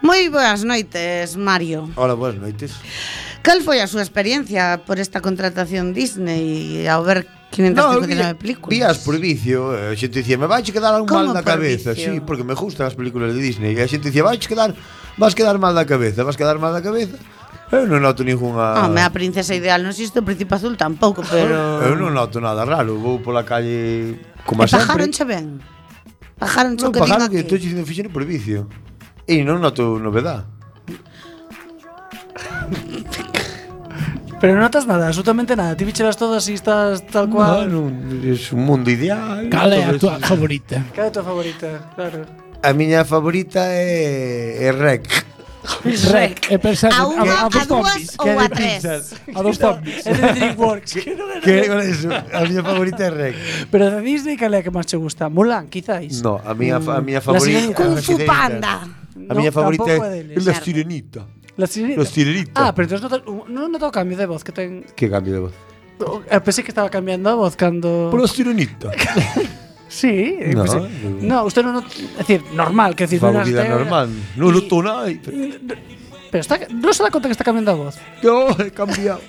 S11: Moi boas noites, Mario.
S8: Hola, boas noites.
S11: Cal foi a súa experiencia por esta contratación Disney ao ver
S8: No,
S11: 559
S8: eh, vi-
S11: películas?
S8: vías por vicio, eh, a xente dicía, me vais quedar un
S11: Como
S8: mal da
S11: por
S8: cabeza,
S11: vicio?
S8: sí, porque me gustan as películas de Disney, e a xente dicía, vais quedar, vas quedar mal da cabeza, vas quedar mal da cabeza. Eu non noto ninguna...
S11: Home, a princesa ideal non existe, o príncipe azul tampouco, pero...
S8: Ah, Eu non noto nada raro, vou pola calle como
S11: E
S8: sempre.
S11: pajaronche ben. Pajaronche o
S8: Non
S11: que din
S8: pagaron que
S11: aquí. (laughs)
S8: estou dicindo fixen por vicio. E non noto novedad.
S1: Pero non notas nada, absolutamente nada. Ti vichelas todas e estás tal cual.
S8: Ah, Non, é un mundo ideal.
S7: Cal é a tua
S8: todo
S7: favorita?
S1: Cada tua favorita, claro.
S8: eso. A miña favorita é, é Rec.
S7: É pensar
S11: A unha, a,
S7: dos
S11: dúas
S7: zombies.
S11: ou a tres.
S7: A dos zombies.
S1: É de Dreamworks. que non era-
S8: Que con eso? A miña favorita é Rec.
S1: Pero de Disney, cal é a que máis che gusta? Mulan, quizáis.
S8: No, a miña fa- a miña
S1: La
S8: favorita.
S1: Sirenita.
S11: Kung
S8: a
S11: Fu
S8: Sirenita.
S11: Panda.
S8: A
S1: No,
S8: miña favorita
S1: tampouco é
S8: é
S1: deles.
S8: La Sirenita.
S1: La sirenita.
S8: La Sirenita.
S1: Ah, pero entonces notas, non noto o cambio de voz que ten.
S8: Que cambio de voz.
S1: Eh, Pensei que estaba cambiando a voz cando...
S8: Por La Sirenita.
S1: Sí, eh,
S8: No,
S1: pues, eh,
S8: eh,
S1: no, usted no, no- es decir, normal, que decir, no era
S8: Favorita
S1: usted, era-
S8: normal. Non noto nada.
S1: Pero está, no se da cuenta que está cambiando la voz.
S8: Yo he cambiado.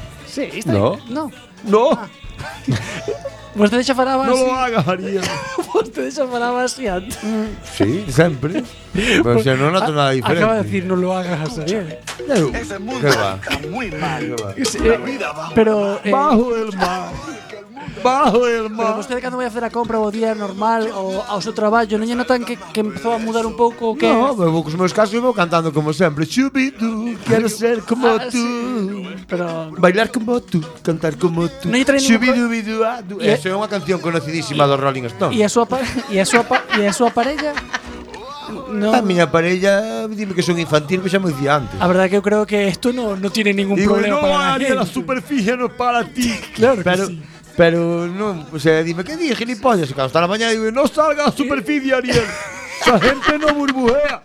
S1: (laughs) Sí, está
S8: No.
S1: No. Ah. Pues
S8: No, (laughs)
S1: Vostede xa falaba
S8: no
S1: así.
S8: lo hagas, María.
S1: (laughs) Vostede xa falaba así antes. Ah,
S8: Sí,
S7: (laughs)
S8: sempre. Pero se non noto nada diferente.
S1: Acaba de decir, no lo hagas, ¿eh? Xavier.
S8: Eu, que va. Que va.
S1: Sí, eh, pero, eh,
S8: Bajo el mar. Bajo el
S1: pero
S8: mar.
S1: vostede cando vai a facer a compra o día normal o ao seu traballo, non lle notan que, que empezou a mudar un pouco o que...
S8: No, eu vou cos meus casos e vou cantando como sempre. Chubidu, quero ser como
S1: Ah,
S8: tú.
S1: sí, pero...
S8: Bailar como tú, cantar como tú.
S1: Non lle traen ningún
S8: Chubidu, bidu, adu.
S1: E-
S8: Eso é unha canción conocidísima dos Rolling
S1: E
S8: Stones.
S1: a súa pa- e a súa pa- e a súa parella No.
S8: A miña parella dime que son infantil, que xa me dicía antes.
S1: A verdade que eu creo que isto no, no tiene ningún
S8: Digo,
S1: problema
S8: no,
S1: para la
S8: Aria,
S1: gente.
S8: la superficie no es (laughs) para ti.
S1: Claro que
S8: pero,
S1: sí.
S8: Pero no, o sea, dime, ¿qué dije, gilipollas? Y Cuando está la mañana digo, no salga a la superficie, Ariel. Esa gente no burbujea.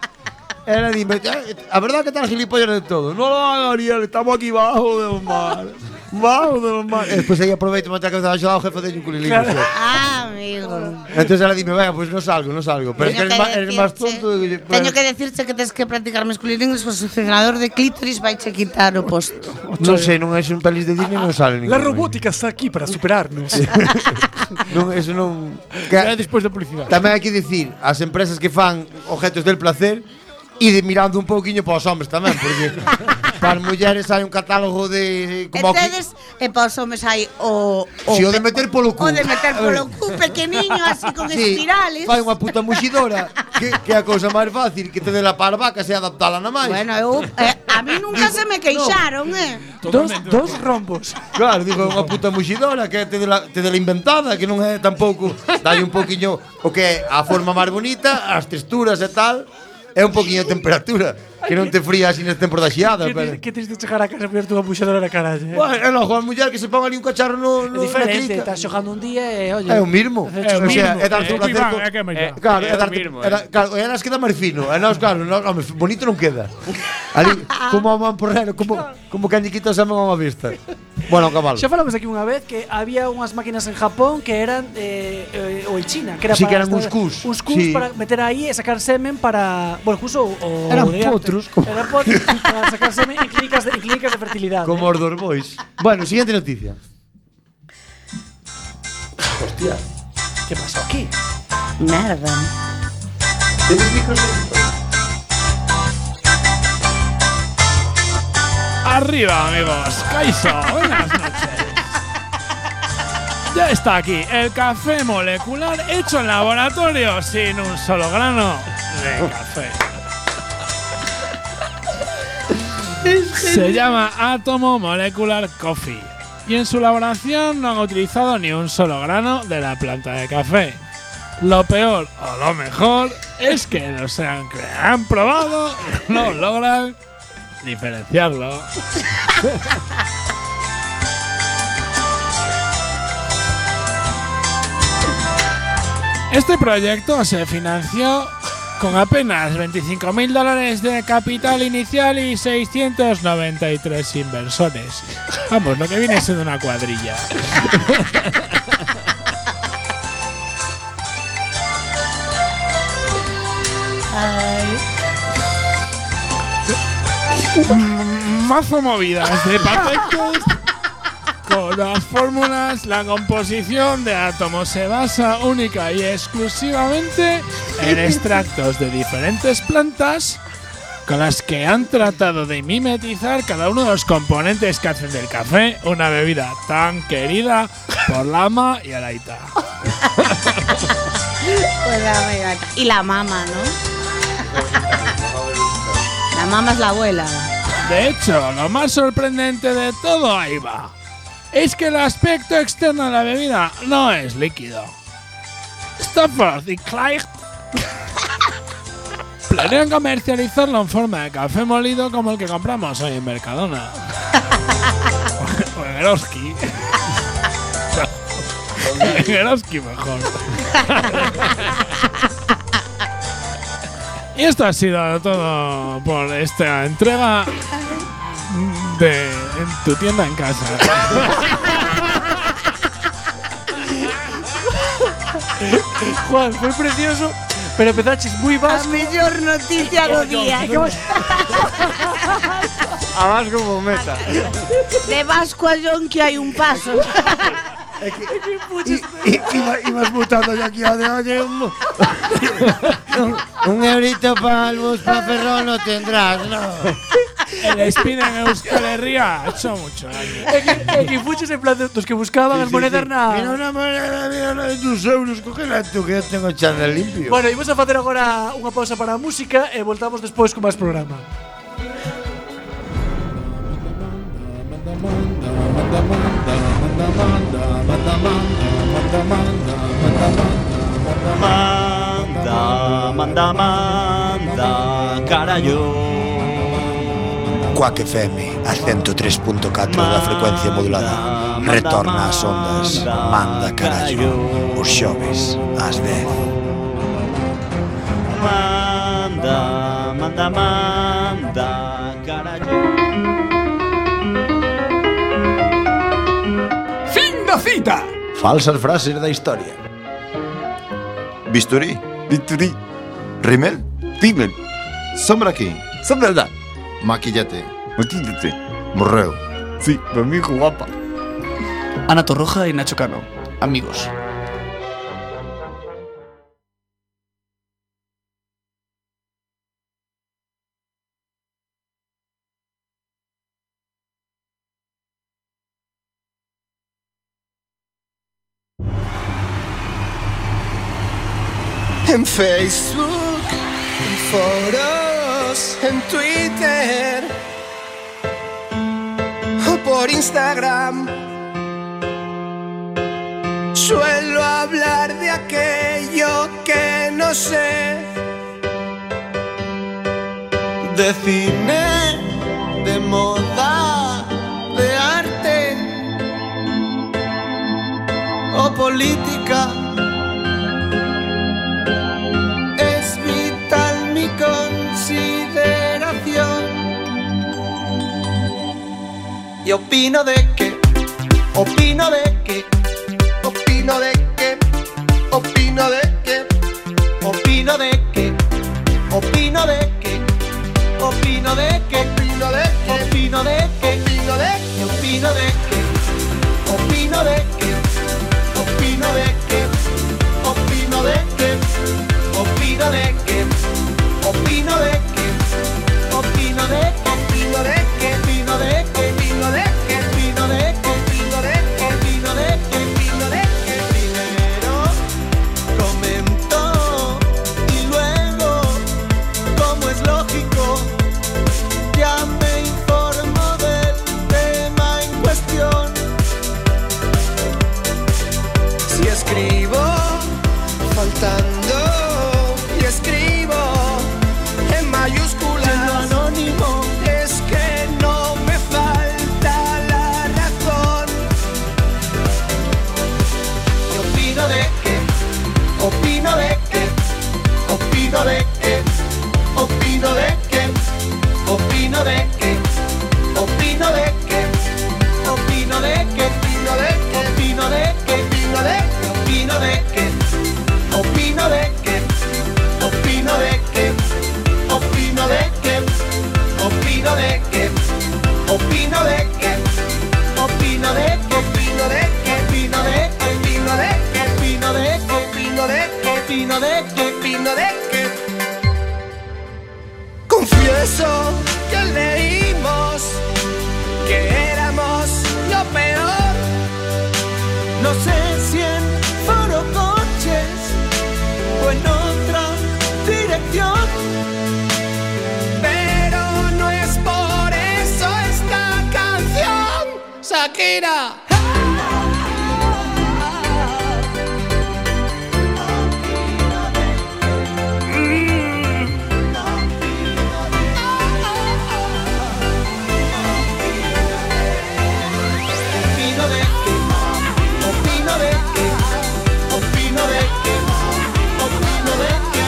S8: Era, dime, "Eh, la verdad que está el gilipollas de todo. No lo haga, Ariel, estamos aquí bajo del mar. Bajo del mar. Y Después ahí aprovecho y me trae que me ha ayudado jefe de Yuculilí.
S11: Ah, amigo.
S8: Entonces ahora dime, venga, pues no salgo, no ¿eh? salgo. Pero es que
S11: Teño
S8: eres más, eres más
S11: decirche-
S8: tonto. de que-
S11: Teño
S7: Pues-
S8: bueno.
S11: que decirche que tens que practicar masculino e inglés o succionador de clítoris vai che quitar o posto.
S8: No sé, no es un pelis de Disney, no sale ninguno.
S7: está aquí para
S11: (laughs)
S7: superarnos.
S8: No, eso no.
S7: Ya despois da publicidade.
S8: Tamén hai que dicir as
S7: (laughs)
S8: empresas que fan objetos del placer e de mirando un pouquiño para os homes tamén, porque Para as mulleres hai un catálogo
S11: E
S8: de eh, como aquí-
S11: tedes, e para os homes hai o... o
S8: Si o de meter polo
S11: O
S8: cu.
S11: de meter polo cu, pequeniño, así con
S8: (laughs) Sí,
S11: espirales.
S8: Fai unha puta muxidora que, que é a cousa máis fácil que te dé la parvaca se adaptala na máis.
S11: Bueno, eu, eh, a mí nunca se
S8: (laughs)
S11: me queixaron, eh.
S8: Dos, dos rombos. Claro, digo, é unha puta muxidora que te dela, te dela inventada, que non é tampouco. Dai un poquinho o que é a forma máis bonita, as texturas e tal, é un poquinho a temperatura, que non te fría así nas temporas da xiada,
S1: Que
S8: pero...
S1: tens- Que tens de chegar a casa e poner tú a puxadora na caralla. eh?
S8: Bueno, é logo a muller que se pon ali un cacharro no,
S1: É
S8: no
S1: diferente,
S8: na clica.
S1: estás xogando un día e, oye...
S8: É o mismo.
S1: facer
S8: o sea,
S1: mismo. Eh,
S8: é darte o placer. co- eh,
S7: máis dá?
S8: Claro,
S7: É
S8: é
S7: o
S8: darte.
S7: mismo,
S8: é da- Claro, e elas queda máis fino. E nós, claro, nós, home, bonito non queda. Ali, como a man porrero, como, como cañiquito se man a vista. Bueno, cabalo.
S1: Xa falamos aquí unha vez que había unhas máquinas en Japón que eran eh, eh, ou en China, que era
S8: Sí,
S1: para
S8: que eran
S1: gastar-
S8: uns cus,
S1: Uns cus
S8: sí.
S1: para meter aí e sacar semen para, bueno, cus ou, ou
S8: Eran
S1: de antes.
S8: potros, como-
S1: Eran potros para sacar semen en clínicas de en clínicas de fertilidade.
S8: Como os dos boys. Bueno, siguiente noticia. Hostia.
S1: Que pasou aquí?
S11: Merda.
S7: Arriba, amigos. Caixa, buenas noches. Ya está aquí el café molecular hecho en laboratorio sin un solo grano de café. Se llama Átomo Molecular Coffee y en su elaboración no han utilizado ni un solo grano de la planta de café. Lo peor o lo mejor es que los han, cre- han probado y no logran diferenciarlo. Este proyecto se financió con apenas 25.000 dólares de capital inicial y 693 inversores. Vamos, lo que viene siendo una cuadrilla. Mm, Mazo movidas de perfectos con las fórmulas, la composición de átomos se basa única y exclusivamente en extractos de diferentes plantas con las que han tratado de mimetizar cada uno de los componentes que hacen del café una bebida tan querida por la ama y Alaita.
S11: Pues la mega- y la mamá, ¿no? La mamá es la abuela.
S7: De hecho, lo más sorprendente de todo ahí va. Es que el aspecto externo de la bebida no es líquido. Stafford y Clyde (laughs) planean comercializarlo en forma de café molido como el que compramos hoy
S11: (laughs)
S7: en Mercadona. o en Eroski. en
S11: (laughs)
S7: Eroski mejor. y esto ha sido todo por esta entrega de en tu tienda en
S1: (laughs)
S7: casa.
S1: (laughs) Juan, foi precioso, pero empezaches moi
S11: (laughs) La
S1: vasco.
S11: mejor noticia do día.
S3: Además como meta.
S11: De Vasco a Yonki hai un
S4: (laughs)
S11: paso.
S8: Ibas botando ya aquí a de oye un... (laughs) un eurito para el bus para Ferrol no tendrás, no.
S7: El spin en Euskal Herria ha hecho mucho daño.
S1: E que, e que fuches en plan de- dos que buscaban as monedas na...
S8: Mira una moneda, mira una de tus euros, cógela tú que yo tengo chándal limpio.
S1: Bueno, imos a facer agora unha pausa para a música e voltamos despois con máis programa.
S9: Manda, manda, manda, carallo.
S6: Cuac FM, a 103.4 da frecuencia modulada. Retorna ás ondas. Manda carallo. Os xoves, ás 10.
S9: Manda, manda, manda, carallo. Fin da cita!
S6: Falsas frases da historia.
S2: Bisturí. Bisturí. Rimel. Rimel. Sombra aquí. Sombra Maquillate. Maquillate. Morreo. Sí, mi amigo guapa.
S13: Ana Torroja y Nacho Cano. Amigos.
S14: En Facebook, en foros, en Twitter o por Instagram. Suelo hablar de aquello que no sé. De cine, de moda, de arte o política. Es vital mi consideración. Y opino de que, opino de que, opino de que, opino de que, opino de que, opino de que, opino de que, opino de que, opino de que, opino de que, opino de que, opino de que, opino de que, opino de que, opino de que, opino de que, opino de que, opino de que, opino de que, opino de que, opino de que, opino de que, opino de que, opino de que, primero comento y luego, como es lógico, ya me informo del tema en cuestión. Si escribo faltando y escribo en mayúsculas lo anónimo es que no me falta la razón. Y opino de que, opino de que, opino de que, opino de que, opino de que, opino de que, opino de que, opino de que, opino de que, opino de que, opino de que, opino de que, opino de que, opino de que, opino de que, opino de que, opino de que, opino de que, opino de que, opino de que, opino de que, opino de que, opino de que, opino de que. Confieso que leímos que éramos lo peor. No sé si en foro coches o en otra dirección. Pero no es por eso esta canción, Shakira. Opino de que, opino de que, opino de que, opino de que,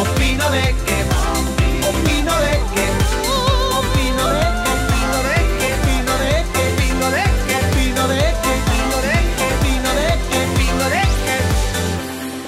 S14: opino de que, opino de que, opino de que, opino de que, opino de que, opino de que, opino de que, opino de que, opino de que, opino de que.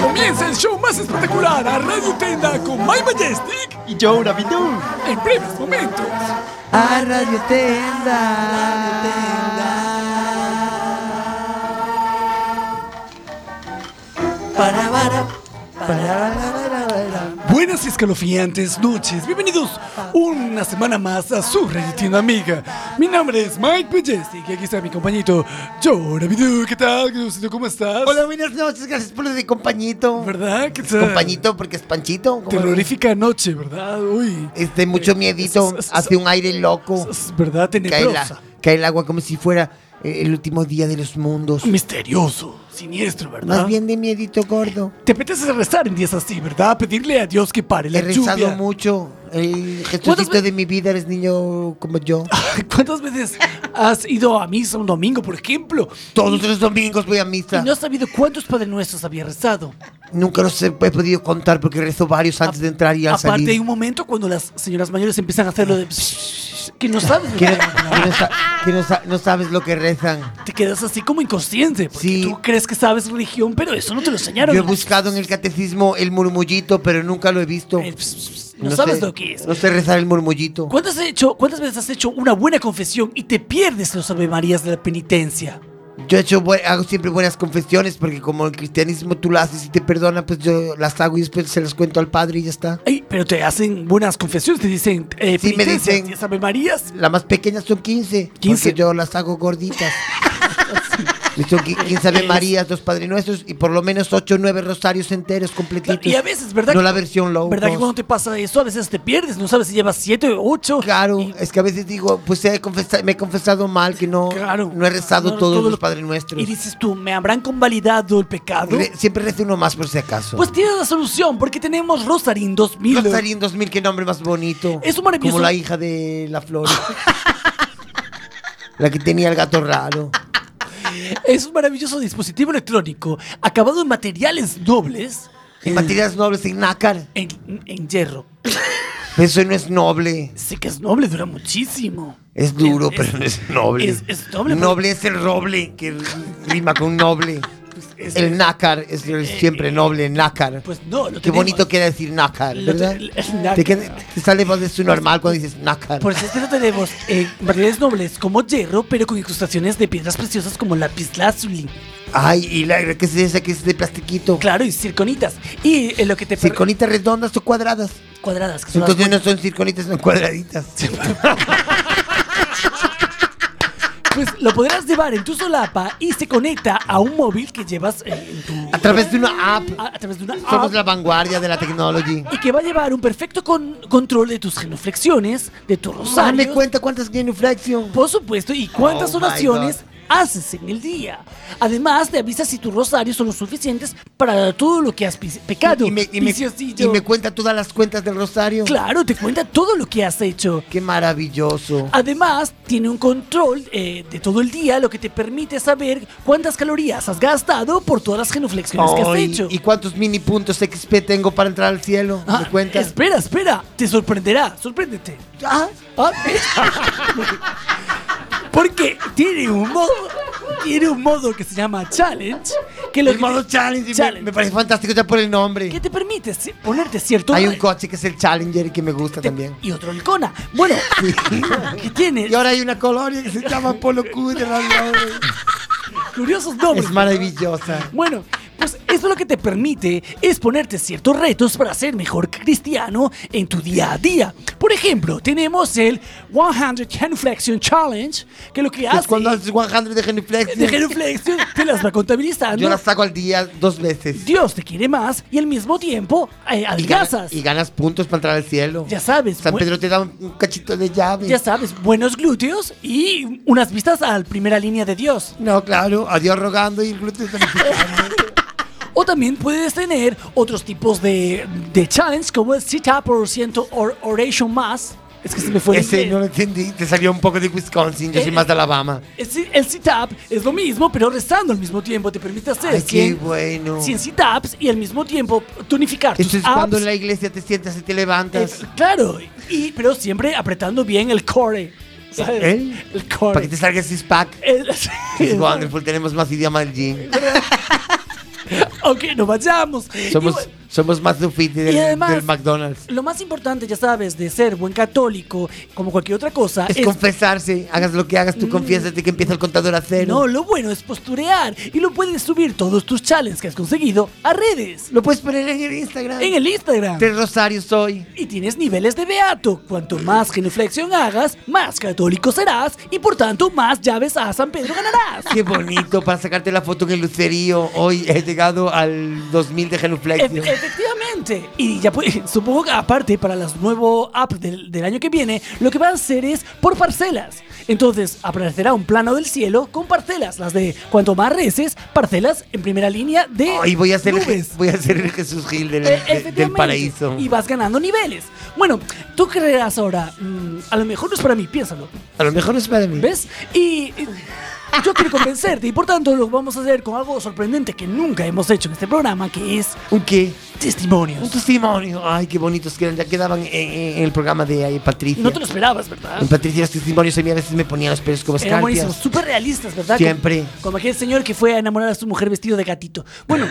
S15: Comienza el show más espectacular a Radio Tenda con My Majestic y Joe Rabidoux. En breves momentos.
S4: A Radio Tenda.
S15: Buenas y escalofriantes noches. Bienvenidos una semana más a su Radio Tienda Amiga. Mi nombre es Mike Majestic y aquí está mi compañito Joe Rabidoux. ¿Qué tal? Diosito? ¿Cómo estás?
S4: Hola, buenas noches, gracias por lo de compañito.
S15: ¿Verdad? ¿Qué tal?
S4: Compañito, porque es Panchito. ¿cómo
S15: Terrorífica noche, ¿verdad? Uy. Eh,
S4: Este, mucho miedito, hace un aire loco.
S15: ¿Verdad?
S4: Cae, la-
S15: Tenebrosa.
S4: cae el agua como si fuera eh, el último día de los mundos.
S15: Misterioso, siniestro, ¿verdad?
S4: Más bien de miedito gordo.
S15: Te apetece rezar en días así, ¿verdad? Pedirle a Dios que pare la
S4: He
S15: lluvia.
S4: rezado mucho. El
S15: ¿Cuántas
S4: Jesucito de mi vida eres niño como yo.
S15: ¿Cuántas veces has ido a misa un domingo, por ejemplo?
S4: Todos los domingos voy a
S1: Y
S4: misa.
S1: no has sabido cuántos Padre Nuestros había rezado.
S4: Nunca los he, he podido contar porque rezo varios antes de entrar y al
S1: Aparte,
S4: salir.
S1: hay un momento cuando las señoras mayores empiezan a hacer lo de. psh, que no sabes.
S4: Que, no- que no, sa- que no sa- no sabes lo que rezan.
S1: Te quedas así como inconsciente. Porque tú crees que sabes religión, pero eso no te lo enseñaron.
S4: Yo he buscado en el catecismo el murmullito, pero nunca lo he visto.
S15: Eh, pues,
S1: no sabes lo que es.
S4: No sé rezar el murmullito.
S1: ¿Cuántas, has hecho, ¿Cuántas veces has hecho una buena confesión y te pierdes los Ave Marías de la penitencia?
S4: Yo he hecho, bu- hago siempre buenas confesiones porque como el cristianismo tú las haces y te perdona, pues yo las hago y después se las cuento al padre y ya está.
S15: Ey, pero te hacen buenas confesiones, te dicen eh,
S4: Sí, me
S15: penitencias,
S4: dicen.
S15: diez Ave
S4: (laughs)
S15: Marías.
S4: Las más pequeñas son 15.
S15: 15.
S4: Porque yo las hago gorditas. Me Son 15 Ave Marías, dos Padre Nuestros y por lo menos 8 o 9 rosarios enteros completitos.
S15: Y a veces, ¿verdad?
S4: No
S15: que-
S4: la versión low.
S15: ¿Verdad que
S4: cost.
S15: cuando te pasa eso, a veces te pierdes? No sabes si llevas siete o ocho.
S4: Claro, es que a veces digo, pues he confesa- me he confesado mal, que no, no he rezado
S15: No,
S4: todos
S15: todo
S4: los
S15: lo-
S4: Padre Nuestros.
S15: Y dices tú, ¿me habrán convalidado el pecado?
S4: Re- siempre rezo uno más por si acaso.
S15: Pues tienes la solución, porque tenemos Rosarín 2000.
S4: Rosarín 2000, qué nombre más bonito.
S15: Es un maravilloso-
S4: Como la hija de la flor. la que tenía el
S15: (laughs)
S4: gato raro.
S15: (laughs) Es un maravilloso dispositivo electrónico acabado en materiales nobles.
S4: En materiales nobles, en nácar.
S15: En, hierro.
S4: Eso no es noble.
S15: Sí que es noble, dura muchísimo.
S4: Es duro, pero no es noble.
S15: es- es noble, pero-
S4: Noble es el roble, que r- rima con noble.
S15: Pues, es- Eh,
S4: el nácar es el siempre noble, nácar.
S15: Pues no, lo
S4: Qué
S15: tenemos.
S4: bonito queda decir nácar,
S15: Lo
S4: ¿verdad?
S15: te- el nácar.
S4: Te, queda- te sale voz de su normal cuando dices nácar.
S15: (laughs) Por eso es que lo tenemos eh, en materiales nobles como hierro, pero con incrustaciones de piedras preciosas como lapislázuli.
S4: Ay, y la que es esa que es de plastiquito.
S15: Claro, y circonitas. Y eh, lo que te per-
S4: Circonitas redondas o cuadradas.
S15: cuadradas, que son las
S4: Entonces no son circonitas, son (laughs) cuadraditas.
S15: Pues lo podrás llevar en tu solapa y se conecta a un móvil que llevas eh, en tu.
S4: A través de una app.
S15: A, a través de una
S4: Somos
S15: app.
S4: la vanguardia de la tecnología.
S15: Y que va a llevar un perfecto con- control de tus genuflexiones, de tus rosarios.
S4: Dame cuenta cuántas genuflexión.
S15: Por supuesto, y cuántas
S4: Oh my
S15: oraciones haces en el día. Además, te avisa si tus rosarios son los suficientes para todo lo que has pis- pecado.
S4: Y me, y me-
S15: Viciosillo.
S4: y me cuenta todas las cuentas del rosario.
S15: Claro, te cuenta todo lo que has hecho.
S4: Qué maravilloso.
S15: Además, tiene un control eh, de todo el día, lo que te permite saber cuántas calorías has gastado por todas las genuflexiones que has
S4: Ay,
S15: hecho.
S4: ¿Y cuántos mini puntos XP tengo para entrar al cielo?
S15: Ah,
S4: ¿Me cuenta?
S15: Espera, espera, te sorprenderá, sorpréndete.
S4: Ah,
S15: ah, ¿ves? Porque tiene un modo, tiene un modo que se llama challenge, que lo
S4: El
S15: que te-
S4: modo challenge, y me-
S15: Challenge.
S4: Me, parece fantástico ya por el nombre.
S15: que te permite si- ponerte cierto
S4: Hay un coche que es el Challenger que me gusta también.
S15: y otro el Kona.
S4: (laughs)
S15: Bueno, que tiene
S4: Y ahora hay una colonia que se llama Polo Cudre.
S15: curiosos nombres.
S4: Es maravillosa.
S15: Bueno, pues eso lo que te permite es ponerte ciertos retos para ser mejor cristiano en tu día a día. Por ejemplo, tenemos el 100 Genuflexion Challenge, que lo que
S4: Es
S15: hace
S4: cuando haces 100 de genuflexion.
S15: de genuflexion te las va contabilizando.
S4: Yo las saco al día dos veces.
S15: Dios te quiere más y al mismo tiempo eh,
S4: Y gana-
S15: adelgazas.
S4: Y ganas puntos para entrar al cielo.
S15: Ya sabes,
S4: San
S15: buen-
S4: Pedro te da un, un cachito de llave.
S15: ya sabes, buenos glúteos y unas vistas a la primera línea de Dios.
S4: No, claro. A Dios rogando y el glúteo santificado.
S15: (laughs) O también puedes tener otros tipos de, de challenge como el sit up or 100 or oration más. Es que se me fue el
S4: Ese
S15: inglés.
S4: no lo entendí. Te salió un poco de Wisconsin. Yo soy
S15: Eh,
S4: más de Alabama.
S15: Es decir, El sit-up es lo mismo, pero rezando al mismo tiempo. Te permite hacer
S4: Ay, qué
S15: 100,
S4: bueno.
S15: 100 sit-ups y al mismo tiempo tonificar tus
S4: Esto es
S15: abs.
S4: cuando en la iglesia te sientas y te levantas.
S15: Eh, claro, y, pero siempre apretando bien el core. ¿sabes?
S4: ¿Eh?
S15: El
S4: Para que
S15: core.
S4: te salga el six-pack.
S15: El- (laughs)
S4: Es wonderful. Tenemos más idioma del gym.
S15: Aunque no vayamos.
S4: Somos,
S15: Y bueno,
S4: somos más sufiti del,
S15: Y además-
S4: del McDonald's.
S15: lo más importante, ya sabes, de ser buen católico, como cualquier otra cosa,
S4: Es confesarse. Hagas lo que hagas,
S15: mm.
S4: tú confiésate que empieza el contador a cero.
S15: No, lo bueno es posturear y lo puedes subir todos tus challenges que has conseguido a redes.
S4: Lo puedes poner en el Instagram.
S15: En el Instagram.
S4: Tres rosarios hoy.
S15: Y tienes niveles de beato. Cuanto más genuflexión hagas, más católico serás y por tanto más llaves a San Pedro ganarás.
S4: Qué bonito para sacarte la foto en el lucerío. Hoy he llegado al 2000 de
S15: Efe-
S4: genuflexión.
S15: efectivamente. Y ya pues, (laughs) supongo que aparte para las nuevos apps del, del año que viene, lo que van a hacer es por parcelas. Entonces aparecerá un plano del cielo con parcelas, las de cuanto más reces, parcelas en primera línea de
S4: Hoy voy a ser el, Je-
S15: nubes.
S4: voy a ser el Jesús Gil del,
S15: Eh,
S4: de- del
S15: efectivamente.
S4: paraíso.
S15: Y vas ganando niveles. Bueno, tú creerás ahora, mm, a lo mejor no es para mí, piénsalo.
S4: A lo mejor no es para mí.
S15: ¿Ves? Y eh, yo quiero convencerte y por tanto lo vamos a hacer con algo sorprendente que nunca hemos hecho en este programa, que es
S4: ¿Un qué?
S15: testimonios.
S4: Un testimonio. Ay, qué bonitos que eran. Ya quedaban en, en- en el programa de ahí, Patricia.
S15: No te lo esperabas, ¿verdad?
S4: En Patricia los testimonios a mí a veces me ponían los pelos como
S15: Eran buenísimos,
S4: escarpias.
S15: súper realistas, ¿verdad?
S4: pues, Siempre.
S15: Como, como aquel señor que fue a enamorar a su mujer vestido de gatito. Bueno,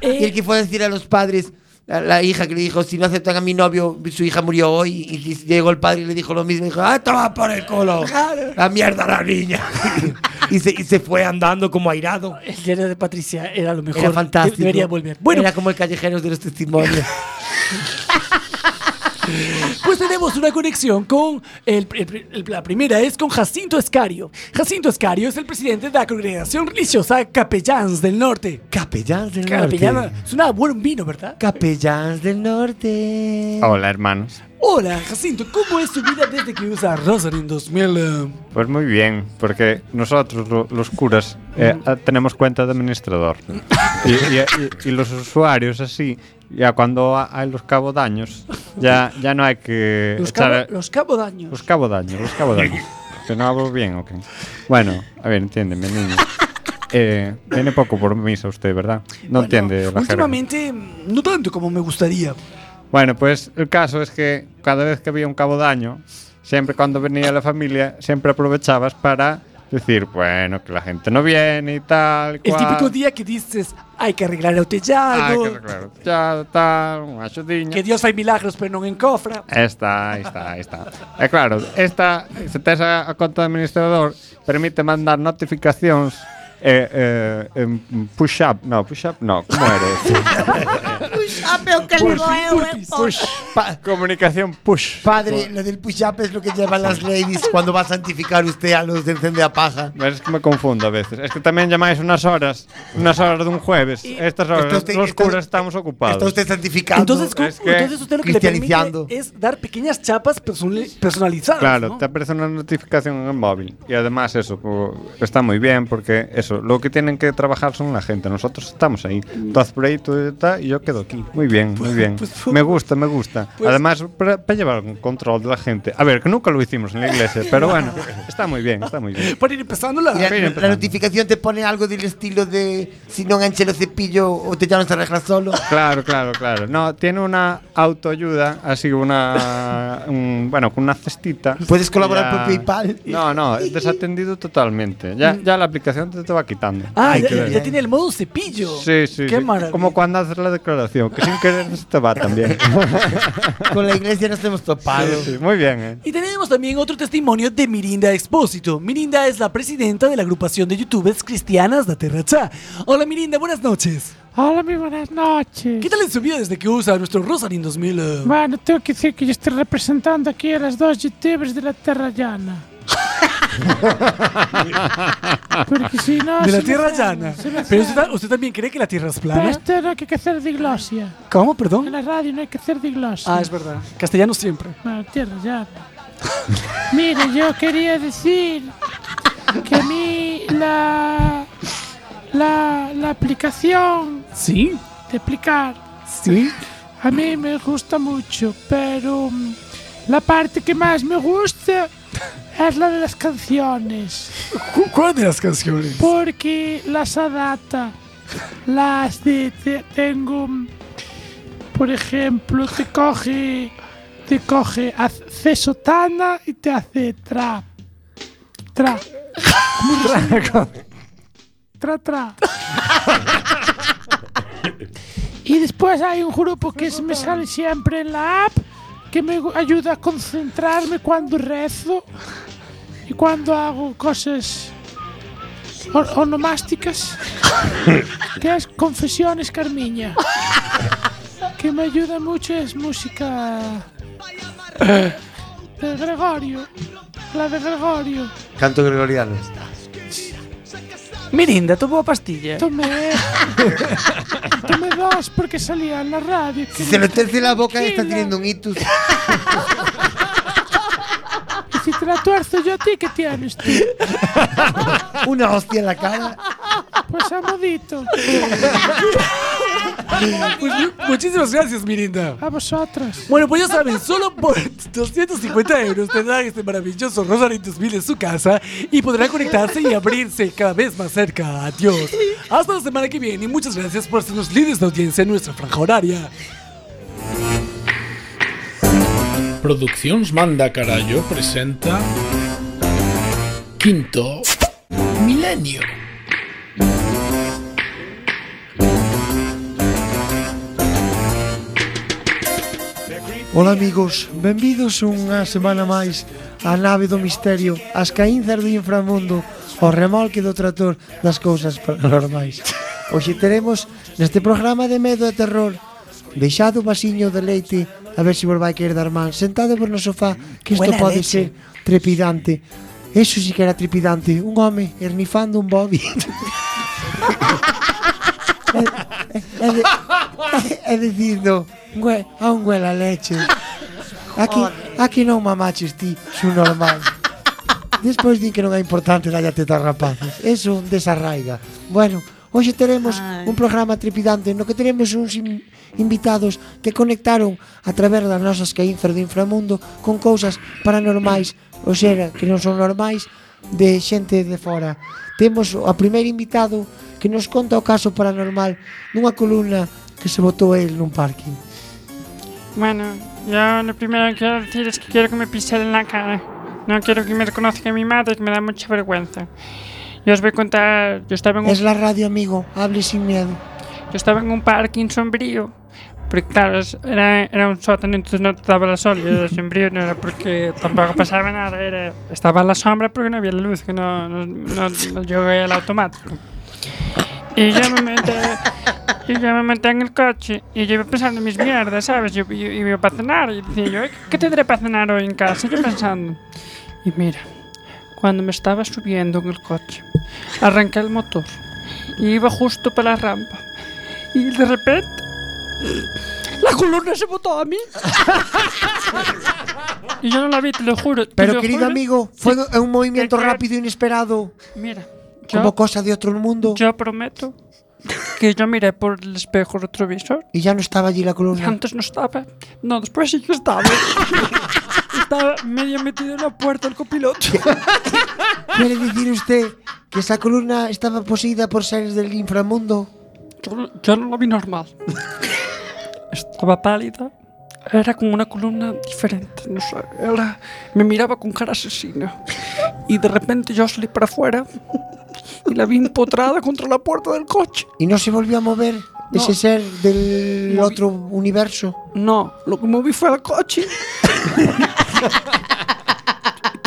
S15: eh,
S4: (laughs) Y el que fue a decir a los padres, a la hija que le dijo, si no aceptan a mi novio, su hija murió hoy. Y llegó el padre y le dijo lo mismo. Y dijo, ah, toma por el culo.
S15: Claro. (laughs)
S4: La mierda la niña. y, se, y se fue andando como airado.
S15: El diario de Patricia era lo mejor.
S4: Era fantástico.
S15: De- Debería volver. Bueno,
S4: Era como el callejero de los testimonios.
S15: (laughs) pues tenemos una conexión con. el- el- el- la primera es con Jacinto Escario. Jacinto Escario es el presidente de la congregación religiosa Capellans del Norte.
S4: Capellans del
S15: Capellana.
S4: Norte.
S15: Suena buen vino, ¿verdad?
S4: Capellans del Norte.
S3: Hola, hermanos.
S15: Hola, Jacinto. ¿Cómo es tu vida desde que usa Rosa en 2000? eh?
S3: Pues muy bien, porque nosotros, lo- los curas, eh,
S15: Mm.
S3: ah, tenemos cuenta de administrador. y, y- y- y los usuarios así, ya cuando ha- hay los cabodaños, ya, ya no hay que...
S15: Los,
S3: echar
S15: cabo,
S3: a-
S15: los cabodaños.
S3: Los cabodaños, los
S15: (laughs)
S3: cabodaños. que no hablo bien, ok. Bueno, a ver, entiéndeme, niño. Eh, tiene poco por misa usted, ¿verdad? No entiende la jerga.
S15: Últimamente, no tanto como me gustaría.
S3: Bueno, pues el caso es que cada vez que había un cabodaño, siempre cuando venía la familia, siempre aprovechabas para decir, bueno, que la gente no viene y tal. y
S15: El
S3: cual. Ah,
S15: típico día que dices, hay que arreglar el tellado.
S3: Hay que arreglar o tellado, tal, un axudiño.
S15: Que Dios fai milagros, pero non encofra.
S3: Esta, esta, esta. E claro, esta, se tes a, a conta do administrador, permite mandar notificacións eh, eh, en push-up, no, push-up, no, como era? eso?
S15: (laughs)
S8: eh.
S15: ¿eh?
S3: comunicación push.
S4: Padre, lo del push-up es lo que llevan las ladies cuando va a santificar usted a los de encende a paja.
S3: Pero es que me confundo a veces. Es que también llamáis unas horas, unas horas de un jueves. Estas horas,
S4: Está usted-
S3: los
S4: está-
S3: curas estamos ocupados.
S4: está usted santificando.
S15: Entonces, cu-
S3: Es que-
S15: entonces usted lo que le
S3: Cristianizando.
S15: permite es dar pequeñas chapas personali- personalizadas.
S3: Claro,
S15: ¿no?
S3: te aparece una notificación en el móvil. Y además eso, co- está muy bien porque eso, lo que tienen que trabajar son la gente. Nosotros estamos ahí. Tú haz por ahí, tú está, y yo quedo aquí. Muy bien,
S8: Pues,
S3: muy bien.
S4: Pues,
S3: me gusta, me gusta.
S16: pues-
S3: además, para, para llevar un control de la gente. A ver, que nunca lo hicimos en la iglesia, pero bueno, está muy bien, está muy bien.
S15: Para ir empezando la,
S3: Para ir
S4: la,
S3: empezando.
S4: notificación te pone algo del estilo de si no enganche el cepillo o te ya no se arregla solo.
S3: Claro, claro, claro. No, tiene una autoayuda, así una. un- bueno, con una cestita.
S4: Puedes colaborar por PayPal. Mm.
S3: No, no, desatendido totalmente. Ya, ya la aplicación te, te va quitando.
S15: Ah,
S3: Hay
S15: ya,
S3: que ver.
S15: ya tiene el modo cepillo.
S3: Sí, sí.
S15: Qué
S3: sí.
S15: maravilla.
S3: Como cuando haces la declaración, que sin querer se te va también.
S4: (laughs) Con la iglesia nos hemos topado.
S3: Sí, sí, Muy bien, ¿eh?
S15: Y tenemos también otro testimonio de Mirinda Expósito. Mirinda es la presidenta de la agrupación de youtubers cristianas de Terrachá. Hola Mirinda, buenas noches.
S17: Hola, muy buenas noches.
S15: ¿Qué tal en su vida desde que usa nuestro Rosarín 2000? eh?
S17: Bueno, tengo que decir que yo estoy representando aquí a las dos youtubers de la Tierra Llana. Porque si no.
S15: de
S17: se
S15: la
S17: me
S15: tierra
S17: hace-
S15: llana.
S17: se me hace-
S15: Pero usted, ta- usted también cree que la tierra es
S17: Pero
S15: plana.
S17: esto no hay que hacer diglosia.
S15: ¿Cómo, perdón?
S17: En la radio no hay que hacer diglosia.
S15: Ah, es verdad. Castellano siempre.
S17: Bueno, Tierra Llana. Mira, yo quería decir que a mí la. La, la aplicación.
S15: Sí.
S17: De explicar.
S15: Sí.
S17: A mí me gusta mucho, pero mm, la parte que más me gusta es la de las canciones,
S15: Cu- ¿Cuál de las
S7: Pues.
S15: canciones?
S17: porque las adapta. Las de, te- tengo, mm, por ejemplo, te coge, te coge, hace sotana y te hace tra, tra, tra, tra. Y después hay un grupo que se me sale siempre en la app que me gu- ayuda a concentrarme cuando rezo y cuando hago cosas or-
S4: (laughs)
S17: onomásticas, que es Confesiones Carmiña, que me ayuda mucho, es música
S3: (gasps)
S17: de Gregorio, la de Gregorio.
S4: Canto gregoriano.
S15: Mirinda, tomó pastilla.
S17: Tomé, tomé dos porque salía en la radio.
S4: Si se lo terce la boca, está teniendo un itus.
S17: Y si te la tuerzo yo a ti, ¿qué tienes tú?
S4: Una hostia en la cara.
S17: Pues amodito.
S15: Pues mu- muchísimas gracias, Mirinda.
S17: A vosotras.
S15: Bueno, pues ya saben, solo por 250 euros tendrán este maravilloso Rosarín 2000 en su casa y podrán conectarse y abrirse cada vez más cerca a Dios. Hasta la semana que viene y muchas gracias por ser los líderes de audiencia en nuestra franja horaria.
S7: Producciones Manda Carallo presenta Quinto Milenio.
S4: Ola amigos, benvidos unha semana máis á nave do misterio, ás caínzas do inframundo, o remolque do trator das cousas paranormais. Hoxe teremos neste programa de medo e terror Deixado o vasiño de leite A ver se vos vai caer das mans Sentado por no sofá Que isto
S1: Buena
S4: pode
S1: leche.
S4: ser trepidante Eso sí que era trepidante Un home hernifando
S1: (laughs)
S4: un body Eh, É, de, é dicindo eh, "Gue- A un huela leche Aquí, aquí non mamaches ti Xo normal Despois din que non é importante dalle a teta aos rapaces Eso desarraiga Bueno, hoxe teremos un programa trepidante No que teremos uns in- invitados Que conectaron a través das nosas caínzas do inframundo Con cousas paranormais Ou xera, que non son normais De xente de fora Temos o a primeiro invitado Que nos conta o caso paranormal Nunha columna que se botou el nun parking
S18: Bueno, yo lo primero que quiero decir es que quiero que me pisen en la cara. No quiero que me reconozca mi madre, que me da mucha vergüenza. Yo os voy a contar. Yo estaba en un,
S4: Es la radio, amigo, hable sin miedo.
S18: yo estaba en un parking sombrío. Porque, claro, es- era, era un sótano, entonces no te daba la sol. y Era sombrío, no era porque tampoco pasaba nada. Era, estaba a la sombra porque no había luz, que no, no, no, no llegué al automático. Y yo me metí, y yo me metí en el coche y yo iba pensando en mis mierdas, ¿sabes? Yo, yo- yo iba para cenar y decía yo, "Ay, ¿qué tendré para cenar hoy en casa? Yo pensando. Y mira, cuando me estaba subiendo en el coche, arranqué el motor y iba justo para la rampa. Y de repente, la columna se botó a mí. y yo no la vi, te lo juro. te
S4: Pero
S18: lo
S4: querido
S18: juro.
S4: amigo, fue un movimiento rápido e inesperado.
S18: Mira,
S4: Como cosa de otro mundo.
S18: Yo prometo que yo miré por el espejo retrovisor
S4: Y ya no estaba allí la columna.
S18: Antes no estaba. No, después sí que estaba. (laughs) estaba medio metido en la puerta el copiloto.
S4: (laughs) ¿Quiere decir usted que esa columna estaba poseída por seres del inframundo?
S18: Yo, yo no lo vi normal. (laughs) Estaba pálida. Era como una columna diferente. No sé, era- me miraba con cara asesina. Y de repente yo salí para afuera y la vi empotrada contra la puerta del coche.
S4: ¿Y no se volvió a mover ese ser del
S18: Movi-
S4: otro universo?
S18: No, lo que moví fue el coche.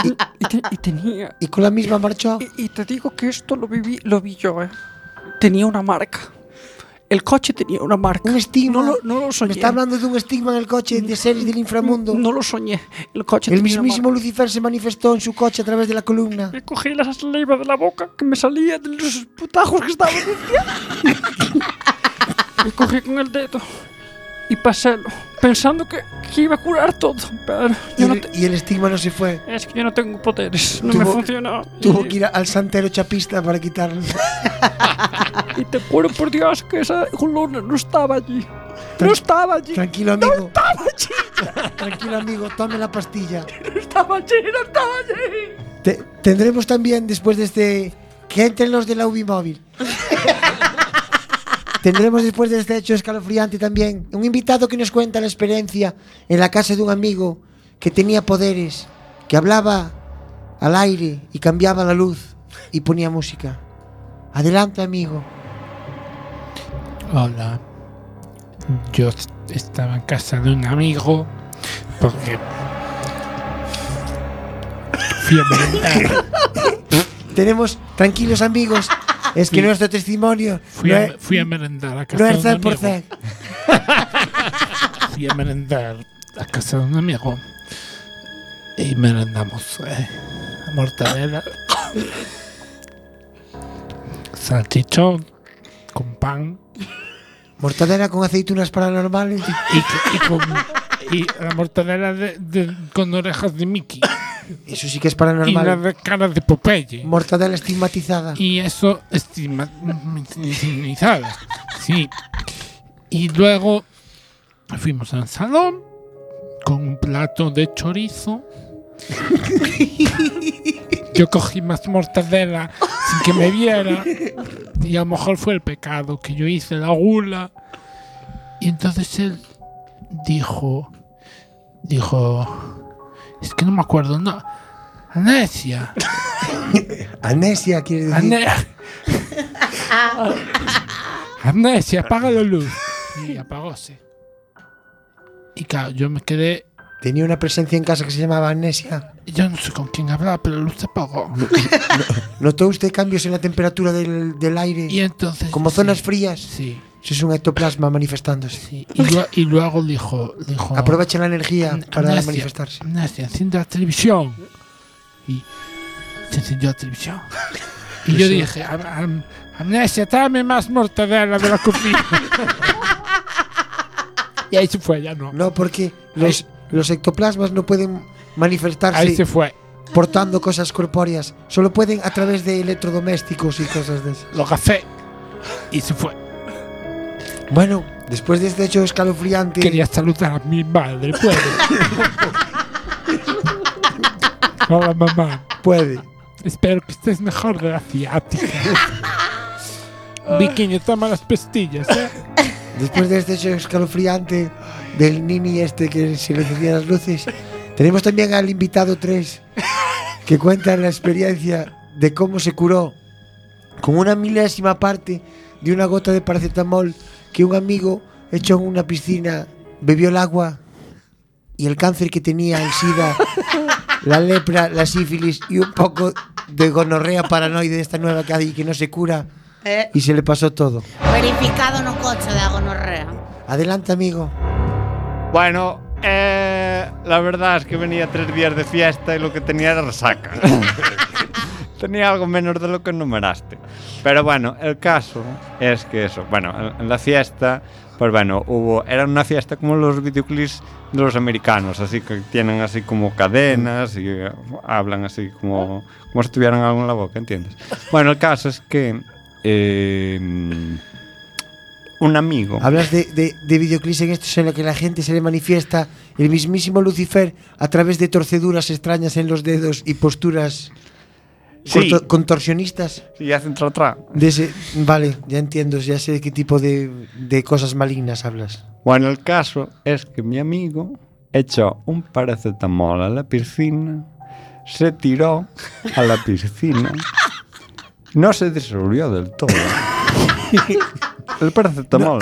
S18: y, te- y tenía.
S4: ¿Y con la misma marcha?
S18: Y, y te digo que esto lo viví, lo vi yo, eh. Tenía una marca. El coche tenía una marca.
S4: Un estigma.
S18: No lo, no lo soñé.
S4: Me está hablando de un estigma en el coche de seres del inframundo.
S18: No lo soñé. El coche
S4: El
S18: tenía una
S4: mismísimo Lucifer se manifestó en su coche a través de la columna.
S18: Me cogí la saliva de la boca que me salía de los putajos que estaban (laughs) Me cogí con el dedo y pasélo, pensando que, que iba a curar todo. Pero
S4: Y el, y el estigma no se fue.
S18: es que yo no tengo poderes, no me
S4: Tuvo-
S18: funcionó.
S4: Tuvo que ir al santero chapista para quitarlo.
S18: (laughs) Y te juro por Dios que esa columna no estaba allí. No estaba allí.
S4: Tranquilo, amigo.
S18: No estaba allí.
S4: (laughs) Tranquilo, amigo, tome la pastilla.
S18: No estaba allí, no estaba allí.
S4: Te- tendremos también, después de este. Que entren los de la UBI móvil. tendremos después de este hecho escalofriante también un invitado que nos cuenta la experiencia en la casa de un amigo que tenía poderes, que hablaba al aire y cambiaba la luz y ponía música. Adelante, amigo.
S7: Hola. Yo est- estaba en casa de un amigo porque fui a merendar.
S4: Tenemos, tranquilos amigos, es que
S7: Fui-
S4: nuestro testimonio
S7: Fui,
S4: no,
S7: a,
S4: es,
S7: fui a merendar a casa
S4: no
S7: de
S4: es
S7: un
S4: cel por
S7: amigo.
S4: cel.
S7: Fui a merendar a casa de un amigo y merendamos eh, mortadela, salchichón con pan
S4: Mortadela con aceitunas paranormales.
S7: y, co- y con- y la mortadela de- de- con orejas de Mickey.
S4: Eso sí que es
S7: Y la
S4: paranormal.
S7: de cara de Popeye.
S4: Mortadela estigmatizada.
S7: Y eso estigmatizada. Sí. Y luego fuimos al salón con un plato de chorizo. Yo cogí más mortadela sin que me viera. Y a lo mejor fue el pecado que yo hice, la gula. Y entonces él dijo, dijo, es que no me acuerdo, no, Anesia.
S4: Amnesia, quiere decir.
S7: Amnesia, apaga la luz. Y apagóse. Y claro, yo me quedé
S4: Tenía una presencia en casa que se llamaba Amnesia.
S17: Yo no sé con quién hablaba, pero la luz se apagó.
S4: ¿Notó usted cambios en la temperatura del, del aire?
S17: Y entonces.
S4: ¿Como zonas frías?
S17: Sí.
S4: Eso es un ectoplasma manifestándose.
S17: Y, lua- y luego dijo, dijo
S4: Aprovecha la energía para
S17: Amnesia,
S4: manifestarse.
S17: Amnesia, enciende la televisión. Y se encendió la televisión. Y yo
S4: Sí.
S17: dije, "Am- am- Amnesia, dame más mortadela de la
S4: (laughs)
S17: cocina. y ahí se fue, ya no.
S4: No, porque los, los ectoplasmas no pueden manifestarse.
S17: Ahí se fue.
S4: Portando cosas corpóreas. Solo pueden a través de electrodomésticos y cosas de esas.
S17: Lo café. Y se fue.
S4: Bueno, después de este hecho escalofriante.
S17: Quería saludar a mi madre, pues.
S4: (laughs)
S17: puede. Hola, mamá.
S4: Puede.
S17: Espero que estés mejor de la (laughs) ciática. Viquiño, toma las pastillas, ¿eh?
S4: (laughs) Después de este hecho escalofriante del nini este que se le encendían las luces, tenemos también al invitado 3 que cuenta la experiencia de cómo se curó con una milésima parte de una gota de paracetamol que un amigo echó en una piscina, bebió el agua y el cáncer que tenía, el sida, la lepra, la sífilis y un poco de gonorrea paranoide de esta nueva que hay que no se cura
S11: Eh,
S4: y se le pasó todo.
S11: verificado no cocho de agonorrea.
S4: Adelante amigo.
S3: Bueno, eh, la verdad es que venía tres días de fiesta y lo que tenía era resaca. tenía algo menos de lo que numeraste. Pero bueno, el caso es que eso, bueno, en- en la fiesta, pues bueno, hubo, era una fiesta como los videoclips de los americanos, así que tienen así como cadenas y eh, hablan así como, como si tuvieran algo en la boca, ¿entiendes? Bueno, el caso es que eh, un amigo...
S4: Hablas de, de, de videoclips en estos en los que la gente se le manifiesta el mismísimo Lucifer a través de torceduras extrañas en los dedos y posturas
S3: Sí.
S4: corto- contorsionistas.
S3: Y hacen tra tra.
S4: De ese- vale, ya entiendo, ya sé de qué tipo de, de cosas malignas hablas.
S3: Bueno, el caso es que mi amigo echó un paracetamol a la piscina, se tiró a la piscina, no se disolvió del
S4: (laughs)
S3: todo. El paracetamol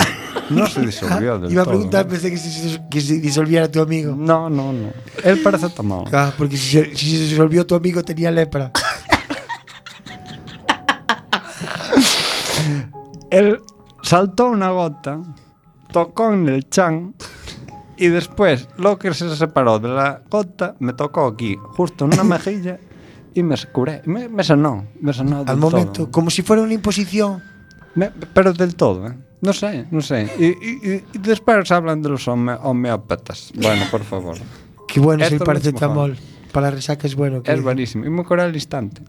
S3: no se disolvió del
S4: Iba a
S3: todo.
S4: preguntar, pensé que se, que se disolviera tu amigo.
S3: No, no, no. El paracetamol.
S4: Ah, porque si se, si se disolvió tu amigo tenía lepra.
S3: Él saltó una gota, tocó en el chan y después lo que se separó de la gota me tocó aquí, justo en una mejilla y me curé. Me, me sanó, me sanó. del
S4: Al
S3: todo.
S4: momento, como si fuera una imposición.
S3: Me- pero del todo, ¿eh? No sé, no sé. Y, y- y- y después hablan de los home- homeópatas. Bueno, por favor.
S4: (laughs) Qué bueno es el
S3: Esto es mucho
S4: paracetamol. Para la resaca es bueno. que-
S3: Es buenísimo. Y me curé al
S4: (laughs)
S3: instante.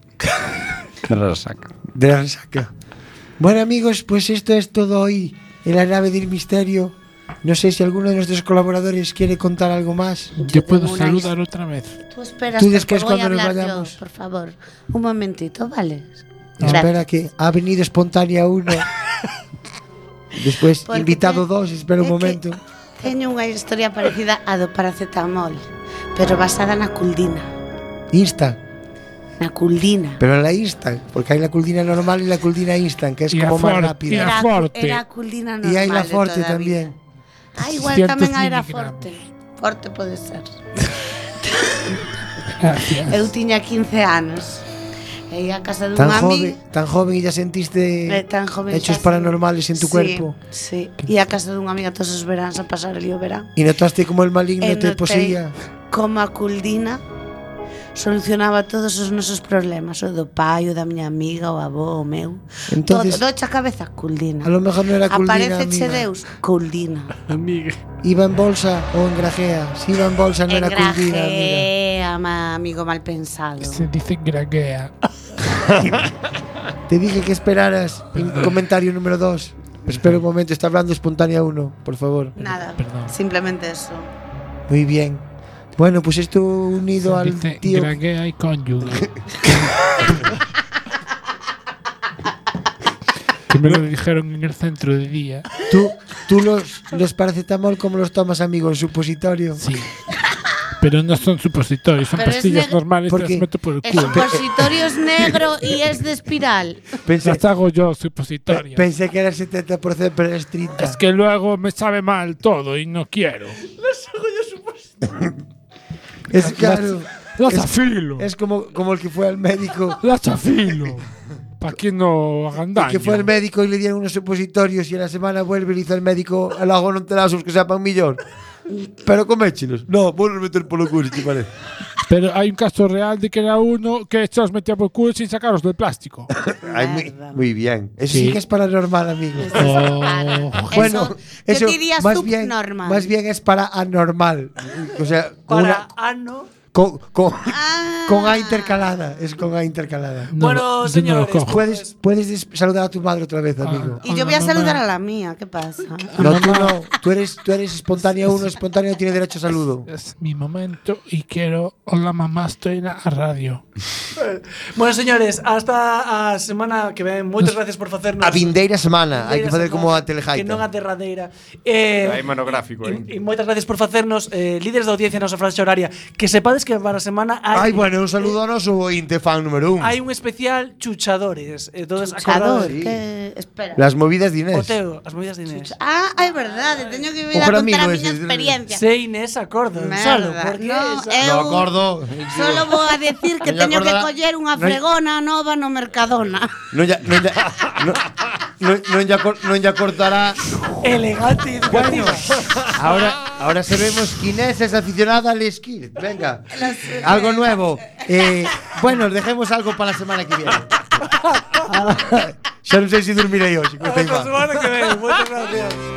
S3: Me la saca.
S4: De la resaca. Bueno amigos, pues esto es todo hoy en la nave del misterio. No sé si alguno de nuestros colaboradores quiere contar algo más.
S17: Yo puedo saludar otra vez.
S11: Tú esperas
S4: Tú
S11: porque
S4: después
S11: voy
S4: cuando
S11: a
S4: nos
S11: hablar
S4: vayamos.
S11: yo, por favor. Un momentito, ¿vale?
S4: Espera que ha venido espontánea
S11: (laughs)
S4: uno. Después
S11: Porque
S4: invitado
S11: te-
S4: dos, espera
S11: es
S4: un
S11: que-
S4: momento.
S11: Teño unha historia parecida á do paracetamol, pero basada na culdina.
S4: Insta,
S11: Na culdina.
S4: pero la Insta, porque hay la culdina normal y la culdina Insta, que es
S17: Y la
S4: como más
S17: Forte,
S4: rápida.
S17: y la Era- Forte. era
S11: culdina
S4: Y hay
S11: normal
S4: la
S11: de
S4: Forte
S11: toda a
S4: también.
S11: Ah, igual
S4: 600
S11: tamén era
S4: miligramos.
S11: forte. Forte pode ser.
S4: (laughs) Gracias.
S11: Eu tiña 15 anos. E ia a casa dun
S4: Tan
S11: amigo.
S4: joven, tan joven y ya sentiste
S11: Eh, tan joven
S4: hechos
S11: xa sí.
S4: paranormales en tu
S11: Sí,
S4: cuerpo.
S11: Sí, e a casa dunha amiga todos os veráns a pasar ali o verán.
S4: Y notaste como el maligno
S11: E
S4: te
S11: notei
S4: poseía.
S11: Como a culdina solucionaba todos os nosos problemas, o do pai, o da miña amiga, o avó, o meu.
S4: Entonces-
S11: Todo, docha cabeza culdina.
S4: A lo mejor no era culdina,
S11: Apareceche
S4: amiga.
S11: Deus, culdina.
S4: Amiga. Iba en bolsa o en grajea. Si iba en bolsa no era culdina, amiga.
S11: Engrajea, ma- amigo mal pensado.
S17: Se dice graguea.
S4: Te dije que esperaras. en comentario número 2. Espera un momento, está hablando espontánea uno, por favor.
S11: Nada, simplemente eso.
S4: Muy bien. Bueno, pues esto unido
S17: Se
S4: al
S17: dice
S4: tío.
S17: graguea y
S4: (laughs)
S17: cónyuge. que me lo dijeron en el centro de día.
S4: Tú, tú los, los paracetamol, ¿cómo los tomas, amigo? ¿En supositorio?
S17: Sí. Pero no son supositorios, son
S11: Pero es
S17: pastillas
S11: neg-
S17: normales que
S4: Porque-
S17: las meto por el
S11: El
S17: culo.
S11: supositorio es negro y es de
S17: (laughs)
S11: espiral.
S17: Las hago yo, supositorias.
S4: Pensé que era el 70%, pero eres 30.
S17: Es que luego me sabe mal todo y no quiero.
S4: Es
S7: Claro.
S4: claro.
S7: La
S4: es-
S7: zafilo.
S4: Es como, como el que fue al médico.
S7: La zafilo. Para que no hagan daño.
S4: El que fue al médico y le dieron unos supositorios y a la semana vuelve y le dice al médico: el ajo no te das, que sepan millón. Pero coméchelos. No, vos los meter por los culos, te parece.
S15: (laughs)
S7: Pero hay un caso real de que era uno que se los metía por el culo sin sacaros del plástico.
S4: Ay, muy, muy bien. Eso sí.
S7: Sí.
S4: que es paranormal, amigo.
S11: Bueno,
S4: eso
S11: yo diría
S4: más bien,
S11: subnormal.
S4: más bien es para anormal. O sea,
S11: Para
S4: con una-
S1: Ah,
S11: ano.
S4: con, con, con A intercalada. Es con A intercalada.
S7: No, Bueno, yo no señores, lo cojo.
S4: puedes, puedes des- saludar a tu madre otra vez, amigo.
S11: Y yo voy a saludar a la mía, ¿qué pasa?
S4: No, tú no. Tú eres, tú eres espontáneo uno, espontáneo tiene derecho a saludo.
S7: Es mi momento y quiero. Hola, mamá, estoy en la radio.
S1: Bueno, señores, hasta a semana que ven. Moitas gracias por facernos.
S4: A vindeira semana. Hay que facer como a
S1: Que non
S4: telejaita.
S1: a derradeira. Eh,
S15: Hai monográfico,
S4: pues.
S1: E
S15: eh.
S1: moitas gracias por facernos eh, líderes da audiencia na nosa frase horaria. Que sepades que para a semana hai,
S4: Ay, bueno, un saludo a noso ointe fan número un.
S1: hai un especial chuchadores. Entonces,
S11: Chuchador,
S1: acordaos.
S11: que- espera.
S4: Las movidas de
S1: O
S4: Inés.
S1: teu, as movidas de Inés.
S11: Ah, é verdade, teño que vir a
S4: O para
S11: contar
S4: mí
S11: a
S4: no
S11: miña
S4: es-
S11: experiencia.
S1: Se Inés acorda, Gonzalo,
S11: Merda,
S1: porque
S11: no,
S1: esa-
S11: eu
S4: No acordo.
S11: Solo vou a decir que
S4: Non lle
S11: teño que
S4: acorda-
S11: coller unha
S4: non lle-
S11: fregona nova no Mercadona.
S4: Non ya, non ya, non, non, non ya, cor- non ya cortará.
S1: Elegante y educativa.
S4: Ahora, ahora sabemos quién es esa aficionada al esquí. Venga, algo nuevo. Eh, bueno, dejemos algo para la semana
S1: (laughs)
S4: que viene. Ya no sé si dormiré hoy.
S1: Hasta a semana que ven. Moitas gracias.
S5: oh,